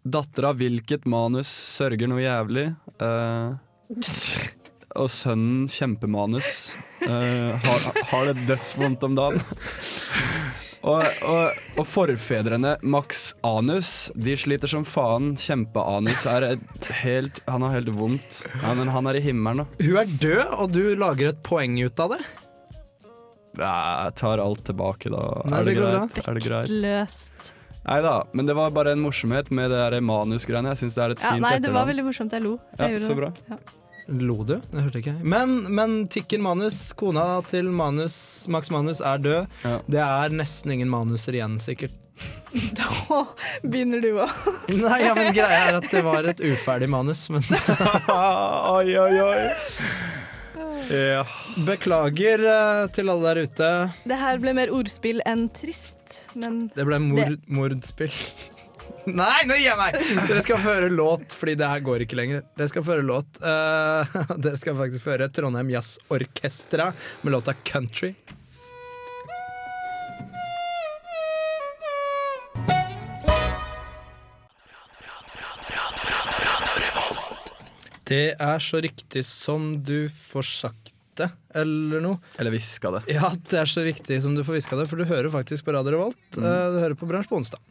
Datter av hvilket manus sørger noe jævlig? eh, og sønnen kjempemanus eh, har, har det dødsvondt om dagen. og, og, og forfedrene Max Anus De sliter som faen. Kjempeanus er et helt Han har helt vondt. Ja, men han er i himmelen, da.
Hun er død, og du lager et poeng ut av det.
Nei, Jeg tar alt tilbake, da.
Nei,
er det
det går bra.
greit? Er det greit?
Løst.
Nei da, men det var bare en morsomhet med det der manusgreiene. Jeg syns det er et
Ja,
fint
nei, det var
etternavn.
veldig morsomt. Jeg lo. Jeg
Ja,
gjorde
så
det.
bra.
Ja. <laughs>
Lo du? Det hørte ikke jeg. Men, men Tikken Manus, kona til Manus, Max Manus, er død.
Ja.
Det er nesten ingen manuser igjen, sikkert. <laughs>
Da begynner du òg.
Nei, ja, men greia er at det var et uferdig manus. Men <laughs>
oi, oi, oi. Ja.
beklager eh, til alle der ute.
Det her ble mer ordspill enn trist, men
Det ble mord, mordspill. <laughs> Nei, nå gir jeg meg! Dere skal få høre låt, fordi det her går ikke lenger. Dere skal få høre låt. Eh, <laughs> dere skal faktisk få høre Trondheim Jazzorkestra med låta 'Country'. Det er så riktig som du får sagt det, eller noe.
Eller hviska det.
Ja, det er så riktig som du får hviska det, for du hører faktisk på Radio Revolt.
Mm.
Eh, Du hører på Bransj på onsdag.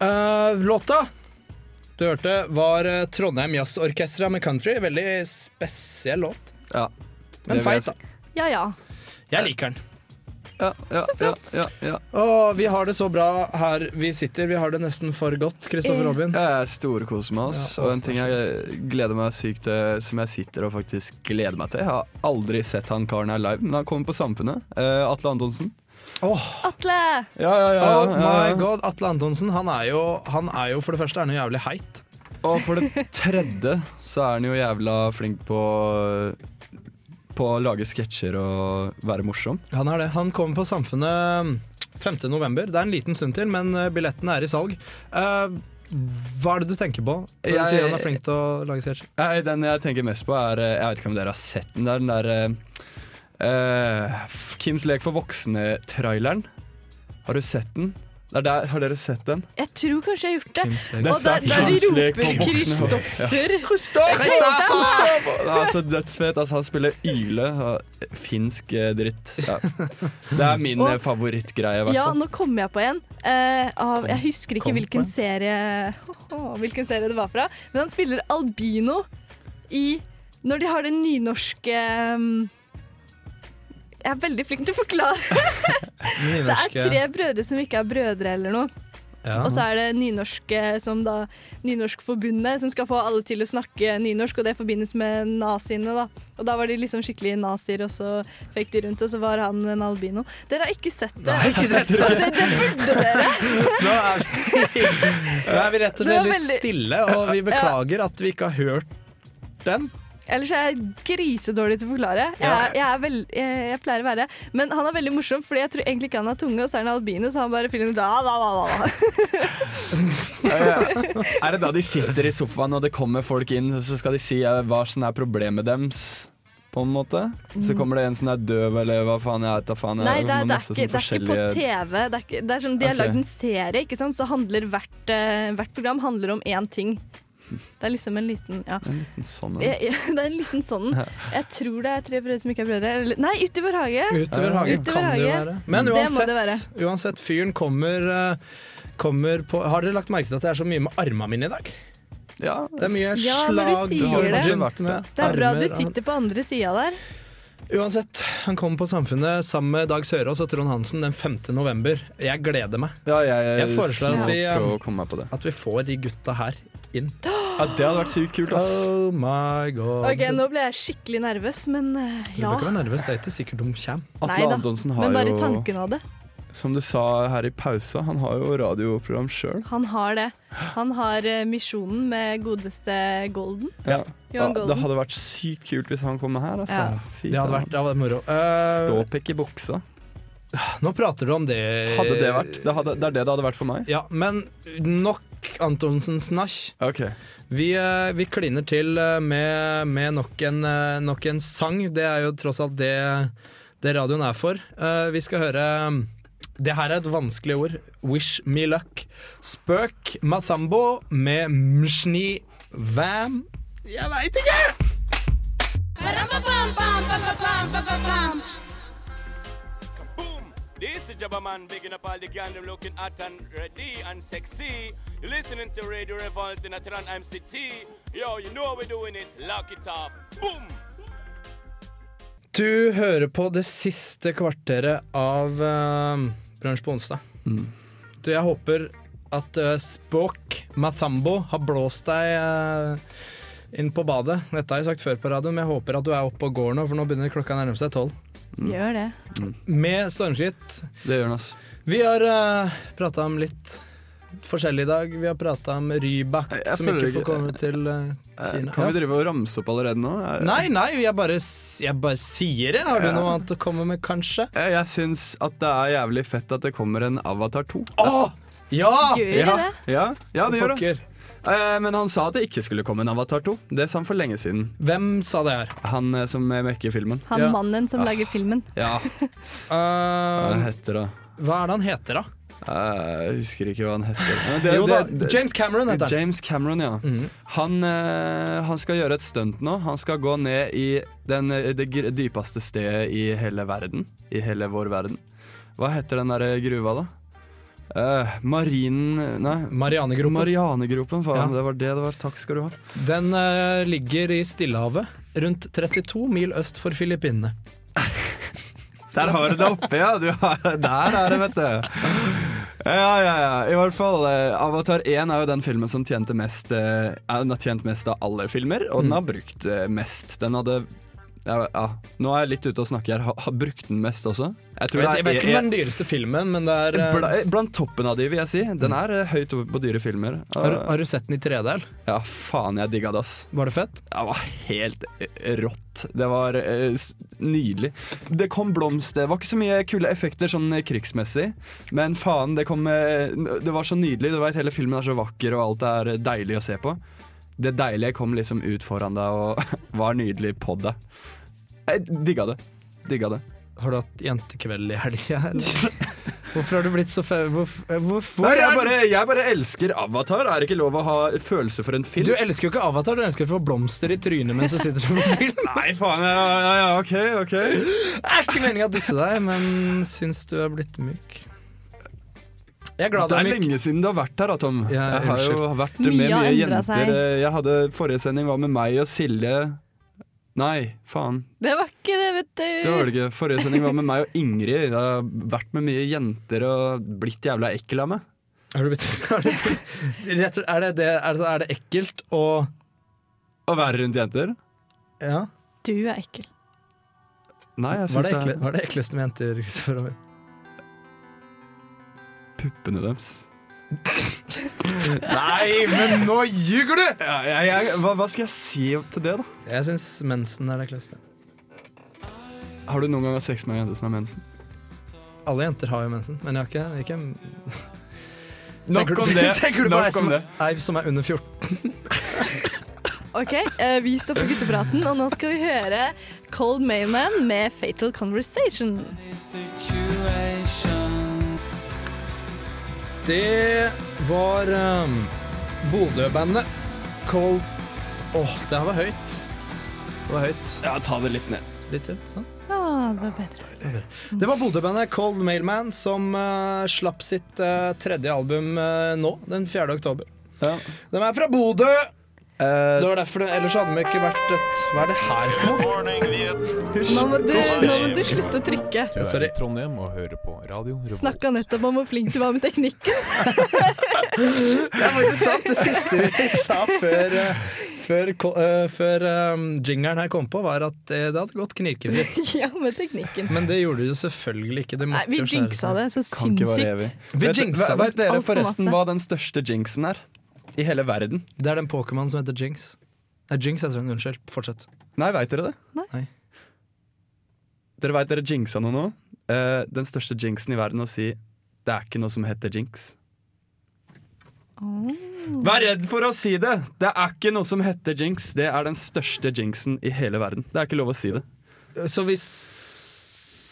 Eh, låta du hørte, var eh, Trondheim Jazzorkestra med Country. Veldig spesiell låt,
Ja.
men
Det vil jeg
feit,
si.
da.
Ja ja.
Jeg liker den.
Ja, ja, ja, ja, ja.
Å, vi har det så bra her vi sitter. Vi har det nesten for godt, Kristoffer
Eh.
Robin.
Jeg storkoser meg. ass.
Ja,
og en ting jeg gleder meg sykt til, som jeg sitter og faktisk gleder meg til Jeg har aldri sett han karen her live, men han kommer på Samfunnet. Eh, Atle Antonsen.
Atle!
Ja, ja, ja.
Oh
ja, ja.
my god, Atle Antonsen han er jo, han er jo for det første er han jo jævlig heit.
Og for det tredje så er han jo jævla flink på På å lage sketsjer og være morsom.
Han er det. Han kommer på Samfunnet 5. november. Det er en liten stund til, men eh, billettene er i salg. Eh, hva er det du tenker på når du
Jeg-
sier han er flink til å lage sketsjer?
Nei, Den jeg tenker mest på, er eh, Jeg vet ikke om dere har sett den der, den der eh, eh, Kims lek for voksne-traileren. Har du sett den? Det er der, har dere sett den?
Jeg tror kanskje jeg har gjort det.
Kims
Og der, der de
Kims lek for
roper
voksne.
Kristoffer.
Kristoffer! Altså, dødsfet. Altså, han spiller Yle. og Finsk eh, dritt. Ja. Det er min eh, favorittgreie, i hvert
Ja,
fall.
nå kommer jeg på en. eh, av, jeg husker ikke
kom på
hvilken
en.
serie, <laughs> Åh, hvilken serie det var fra, men han spiller albino i Når de har den nynorske ehm, Jeg er veldig flink til å forklare. <laughs> Det er tre brødre som ikke er brødre eller noe.
Ja.
Og så er det nynorske som da Nynorskforbundet som skal få alle til å snakke nynorsk, og det forbindes med naziene, da. Og da var de liksom skikkelig nazier, og så føk de rundt, og så var han en albino. Dere har ikke sett det. Så det, det burde dere.
Nå er vi, <laughs> nå er vi rett og
Det
slett
var
litt
veldig-
stille, og vi beklager at vi ikke har hørt den.
Ellers er jeg grisedårlig til å forklare. Jeg, er, jeg, er veld, jeg, jeg pleier å være Men han er veldig morsom, Fordi jeg tror egentlig ikke han har tunge, og så er han albino, så han bare filmer da, da, da, da.
Er det da de sitter i sofaen, og det kommer folk inn, så skal de si eh, hva som er problemet deres? På en måte. Så kommer det en som er døv, eller hva faen jeg vet da faen. jeg-
Mm. Nei, det er, det, er
masse
ikke, det er
sånn
ikke på
forskjellige-
TV. Det er ikke, det er sånn, de har
Ok.
lagd en serie, ikke sant? så handler hvert, eh, hvert program handler om én ting. Det er liksom en liten ja.
Sånn, ja.
Jeg, <laughs> jeg, det er en liten sånn Jeg tror det er Tre brødre som ikke er brødre. Eller, nei, Ute i vår hage!
Utover hagen
Utover
kan det jo
hage.
være. Men
Det må
uansett,
det være.
uansett fyren kommer, eh, kommer på Har dere lagt merke til at det er så mye med armene mine i dag?
ja.
Det er mye
Ja,
slag.
når du sier
og
det.
rundt med
Det er bra
armer.
du sitter på andre sida der.
Uansett, han kommer på Samfunnet sammen med Dag Sørås og Trond Hansen den 5. november. Jeg gleder meg.
ja, jeg,
Jeg foreslår at
må
vi, eh,
prøve å komme meg på det.
At vi får de gutta her inn.
um, Ja, det hadde vært sykt kult, ass.
Oh my god.
Ok, Nå ble jeg skikkelig nervøs, men eh,
Du
ja.
bør ikke være nervøs, det er ikke sikkert de kommer.
Nei
Atle
da,
Antonsen har
Men bare
jo
tanken av det.
Som du sa her i pausa, han har jo radioprogram sjøl.
Han har det. Han har eh, misjonen med godeste Golden.
Ja.
Johan
Ja, det
Golden.
hadde vært sykt kult hvis han kom her. Altså.
Ja.
Fy
Det hadde
faen.
vært, det hadde vært moro. Eh,
Ståpikk i buksa.
nå prater du om det
Hadde det vært? Det, hadde, det er det det hadde vært for meg.
Ja, men nok Antonsens nach.
Ok,
Vi, eh, vi kliner til eh, med, med nok, en, eh, nok en sang. Det er jo tross alt det, det radioen er for. Eh, Vi skal høre eh, Det her er et vanskelig ord. Wish me luck. Spøk Mathambo med Mshni Vam. Jeg veit ikke!
Boom! This is Jabba Man bigging up all the gang them looking hot and ready and sexy. You're listening to Radio Revolt in Atran MCT. Yo, you know how we're doing it. Lock it up. Boom!
Du hører på det siste kvarteret av uh, Bransj på onsdag. Du, jeg håper at uh, Spåk Mathambo har blåst deg eh, inn på badet. Dette har jeg sagt før på radioen, men jeg håper at du er oppe og går nå, for nå begynner klokka å nærme seg tolv.
Gjør det.
Med stormskritt.
Det gjør han, ass.
Vi har uh, prata om litt forskjellig i dag. Vi har prata om Rybak,
Jeg- jeg
som ikke
føler ikke-
får komme til eh,
Eh,
Kina.
Kan vi
Ja.
drive og ramse opp allerede nå? Eh, Jeg-
Nei, nei, jeg bare, s- jeg bare sier det. Har du noe annet å komme med, kanskje?
Eh, Jeg syns at det er jævlig fett at det kommer en Avatar 2.
Åh! Ja!
Ah,
Gjør
ja,
det?
Ja, ja, det gjør det.
Pokker.
Eh, Men han sa at det ikke skulle komme en Avatar 2. Det sa han for lenge siden.
Hvem sa det her?
Han eh, som eh, mekker filmen.
Han
Ja.
mannen som lager filmen.
Ja,
Uh,
hva heter det?
hva er det han heter, da?
Eh, Jeg husker ikke hva han heter. Men
Jo da, James Cameron heter han. Mhm.
James Cameron, ja. han, eh, han skal gjøre et stunt nå. Han skal gå ned i den, eh, det gr- dypeste stedet i hele verden. I hele vår verden. Hva heter den der gruva, da? Eh, marinen Nei.
Marianegropen.
Marianegropen, faen.
Ja.
Det var det det var. Takk skal du ha.
Den eh, ligger i Stillehavet, rundt 32 mil øst for Filippinene.
Der har du det oppe, ja. Du har, der er det, vet du. Ja, ja, ja. I hvert fall. eh, Avatar 1 er jo den filmen som tjente mest, eh, ja, den har tjent mest av alle filmer, og
Mm.
den har brukt eh, mest. Den hadde ja, ja. Nå er jeg litt ute og snakker her. Har, har brukt den mest også? Jeg
Jeg vet, jeg vet ikke om det er
er- e-
den dyreste filmen, men det er eh,
Bla, blant toppen av de, vil jeg si. Den
Mm.
er eh, høyt oppe på dyre filmer.
har, du- har du sett den i 3D, eller?
Ja, faen, jeg digga det, ass.
Var det fett?
Det var helt eh, rått. Det var eh, s- nydelig. Det kom blomst. Det var ikke så mye kule effekter sånn eh, krigsmessig, men faen, det kom eh, n- Det var så nydelig. Du vet, hele filmen er så vakker, og alt er eh, deilig å se på. Det deilige kom liksom ut foran deg og <laughs> var nydelig på deg. Jeg digga det. Digga det.
Har du hatt jentekveld i helga,
<laughs>
eller? Hvorfor har du blitt så fe... Hvorfor, hvorfor
Nei, jeg
er
bare, jeg bare elsker Avatar. Er det ikke lov å ha følelse for en
du-
film?
Du elsker jo ikke Avatar, du elsker å få blomster i trynet mens du sitter
<laughs>
og
Nei, faen. Ja, ja, ja, OK, OK.
Det er ikke meninga å disse deg, men syns du er blitt myk. Jeg er glad du
det
er
er
myk.
lenge siden du har vært her, da, Tom. jeg har jo
unnskyld.
vært
Mye
med mye,
har endret
jenter.
seg.
Jeg hadde Forrige sending var med meg og Silje Nei, faen.
Det var ikke det, vet du.
Det var det ikke. Forrige sending var med meg og Ingrid. Jeg har vært med mye jenter og blitt jævla ekkel av meg.
Har du blitt, <laughs> har du blitt rett, og- er, det det, er, det, er det ekkelt å
Å være rundt jenter?
Ja.
Du er ekkel.
Nei,
Hva
jeg
er
syns
det, ekle,
det
hva er det ekleste med jenter? Kristoffer Robin?
puppene deres.
<laughs> Nei, men nå ljuger du!
Ja, jeg, jeg, hva, hva skal jeg si til det, da?
Jeg syns mensen er det ekleste.
Har du noen gang hatt sex med en jente som har mensen?
Alle jenter har jo mensen, men jeg har ikke, ikke
Nok om det.
<laughs> Tenker du på
Nok
ei som,
om det.
ei som er under 14?
Ok, eh, vi stopper guttepraten, og nå skal vi høre Cold Mailman med Fatal Conversation.
Det var um, Bodø-bandet Cold Åh, det her var høyt. Det var høyt.
Ja, ta det litt ned.
Litt til, sånn.
Ja, det var bedre.
Det var Bodø-bandet Cold Mailman som eh, slapp sitt eh, tredje album eh, nå, den 4. oktober. De er fra Bodø!
Eh,
det var derfor det, Ellers hadde de ikke vært et Hva er det her for noe?
Nå må du, nå må du slutte å trykke.
Du er
Sorry.
i Trondheim og hører på radio. Revolt.
Snakka nettopp om hvor flink du var med teknikken. <laughs>
Det <laughs> er faktisk sant. Det siste vi sa før, eh, før, ko- eh, før eh, jingeren her kom på, var at eh, det hadde gått knirkefritt.
Ja, med teknikken.
Men det gjorde det jo selvfølgelig ikke. Det
Nei,
måtte
vi
jo skjære
jinxa
seg.
det så
Kan ikke vare evig.
sinnssykt.
Vi jinxa
vet, vet
det.
dere
Alt for
forresten
masse.
hva den største jinxen er? I hele verden?
Det er den Pokémon som heter Jinx. Nei, Jinx heter den. Unnskyld. Fortsett.
Nei, veit dere det?
Nei.
Dere veit dere jinxa noe nå? Eh, den største jinxen i verden å si det er ikke noe som heter jinx.
Oh.
Vær redd for å si det! Det er ikke noe som heter jinx. Det er den største jinxen i hele verden. Det er ikke lov å si det.
Så hvis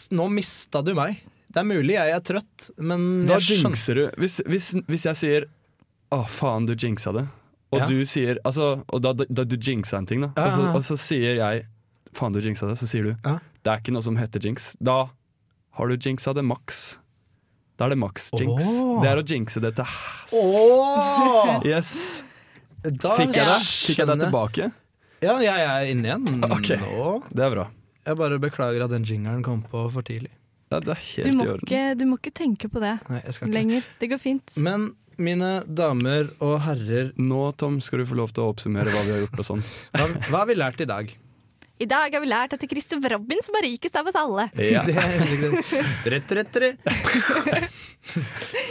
Nå mista du meg. Det er mulig jeg er trøtt, men
Da
jeg skjønte
jinxer du. Hvis, hvis, hvis jeg sier 'Å, faen, du jinxa det', og
Ja.
du sier altså, Og da, da, da du jinxa en ting, da,
Ja,
og, så,
ja, ja.
og så sier jeg 'faen, du jinxa det', så sier du
Ja.
'det er ikke noe som heter jinx'. Da har du jinxa det maks. Da er det maks jinx.
Åh.
Det er å jinxe det til hæs. Yes.
Da
Fikk jeg det? Fikk jeg det
skjønner
tilbake?
Ja, jeg er inne
<laughs>
igjen nå.
Det er bra.
Jeg bare beklager at den jingeren kom på for tidlig.
Ja, det er
Du må, ikke, du må ikke tenke på det
Nei, jeg skal ikke. Mm.
lenger. Det går fint.
Men mine damer og herrer
Nå, Tom, skal du få lov til å oppsummere hva vi har gjort og sånn.
Hva, hva har vi lært i dag?
I dag har vi lært at det er Christopher Robin som er rikest av oss alle.
Ja.
<laughs> Det er egentlig-
<laughs>
Tre, tre, tre.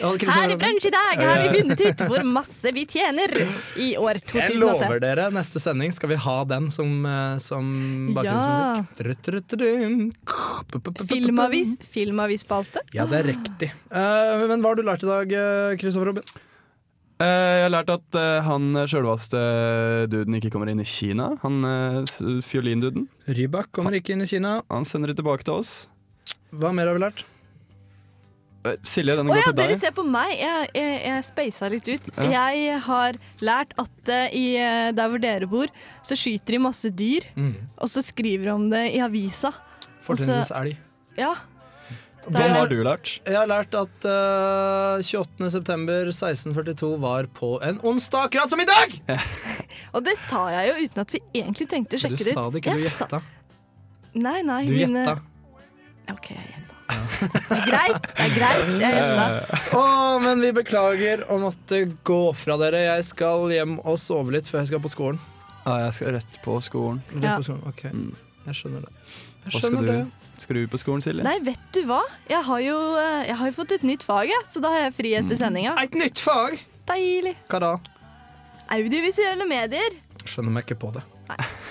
Ja, Christian
Her i
Robin.
Brunsj i dag har vi funnet ut hvor masse vi tjener i år
<laughs> Jeg lover
2008.
dere, neste sending skal vi ha den som, eh, som
Ja.
bakgrunnsmusikk. Tru, tru, tru.
Filmavis. Filmavisspalte.
Ja, det er riktig. Eh, men hva har du lært i dag, eh, Kristoffer Robin?
Eh, jeg har lært at eh, han sjølvaste duden ikke kommer inn i Kina. Han eh, s- fiolinduden.
Rybak kommer ikke inn i Kina.
Han sender det tilbake til oss.
Hva mer har vi lært?
Eh, Silje, den
Å
går
ja,
til
dere
deg.
ser på meg. Jeg, jeg, jeg spasa litt ut.
Ja.
Jeg har lært at eh, i, eh, der hvor dere bor, så skyter de masse dyr.
Mm.
Og så skriver de om det i avisa. Og så-
Fortrinnsvis elg.
Ja.
Hva
Der-
har du lært?
Jeg har lært at uh, 28.9.1642 var på en onsdag, akkurat som i dag!
Og det sa jeg jo uten at vi egentlig trengte å
Du
sjekke det ut.
sa det ikke, du
Jeg sa-
gjetta.
Nei, nei.
Du
mine-
gjetta.
OK, jeg gjetta. Det er greit. Det er greit. Jeg gjetta.
Å, men vi beklager å måtte gå fra dere. Jeg skal hjem og sove litt før jeg skal på skolen.
Ja, jeg skal rett på skolen.
Rett på skolen, ok. Jeg skjønner det. Jeg
Hva skal
skjønner
du?
det.
Skal du på skolen, Silje?
Nei, vet du hva? Jeg har jo, eh, jeg har jo fått et nytt fag, jeg, så da har jeg fri etter
Mm.
sendinga.
Et nytt fag?
Deilig.
Hva da?
Audiovisuelle medier.
Skjønner meg ikke på det.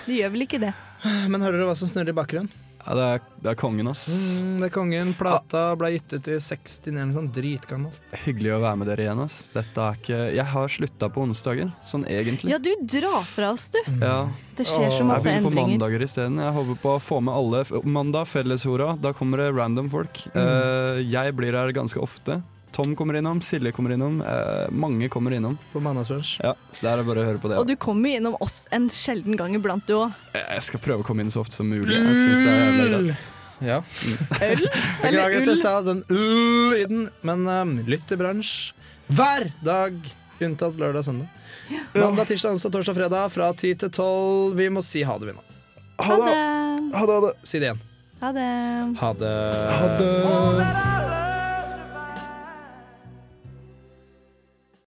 Det gjør vel ikke det.
Men hører dere hva som snurrer i bakgrunnen?
Ja, det, er, det er kongen, ass.
Mm, det er kongen. Plata ble gitt ut i 60 eller noe sånt dritgammelt.
Hyggelig å være med dere igjen, ass. Dette er ikke Jeg har slutta på onsdager, sånn egentlig.
Ja, du drar fra oss, du.
Ja.
Det skjer så
Mm.
masse
Jeg begynner på
endringer.
mandager isteden. Jeg håper på å få med alle. F- Mandag, felleshora. Da kommer det random folk.
Mm.
Eh, jeg blir her ganske ofte. Tom kommer innom, Silje kommer innom. eh, mange kommer innom.
På mandagsbrunsj.
Ja, så det er bare å høre på det.
Og du kommer jo innom oss en sjelden gang iblant, du òg.
Jeg jeg skal prøve å komme inn så ofte som mulig.
Mm.
Jeg synes det er jævlig greit.
Ja.
Øl?
Beklager at
ull?
jeg sa den l-lyden, men um, lytt til bransj hver dag. Unntatt lørdag og søndag. Mandag, tirsdag, onsdag, torsdag, fredag fra 10 til 12. Vi må si ha det, vi nå.
Ha det.
Ha det, ha det. Si det igjen.
Ha det.
Ha det.
Ha det.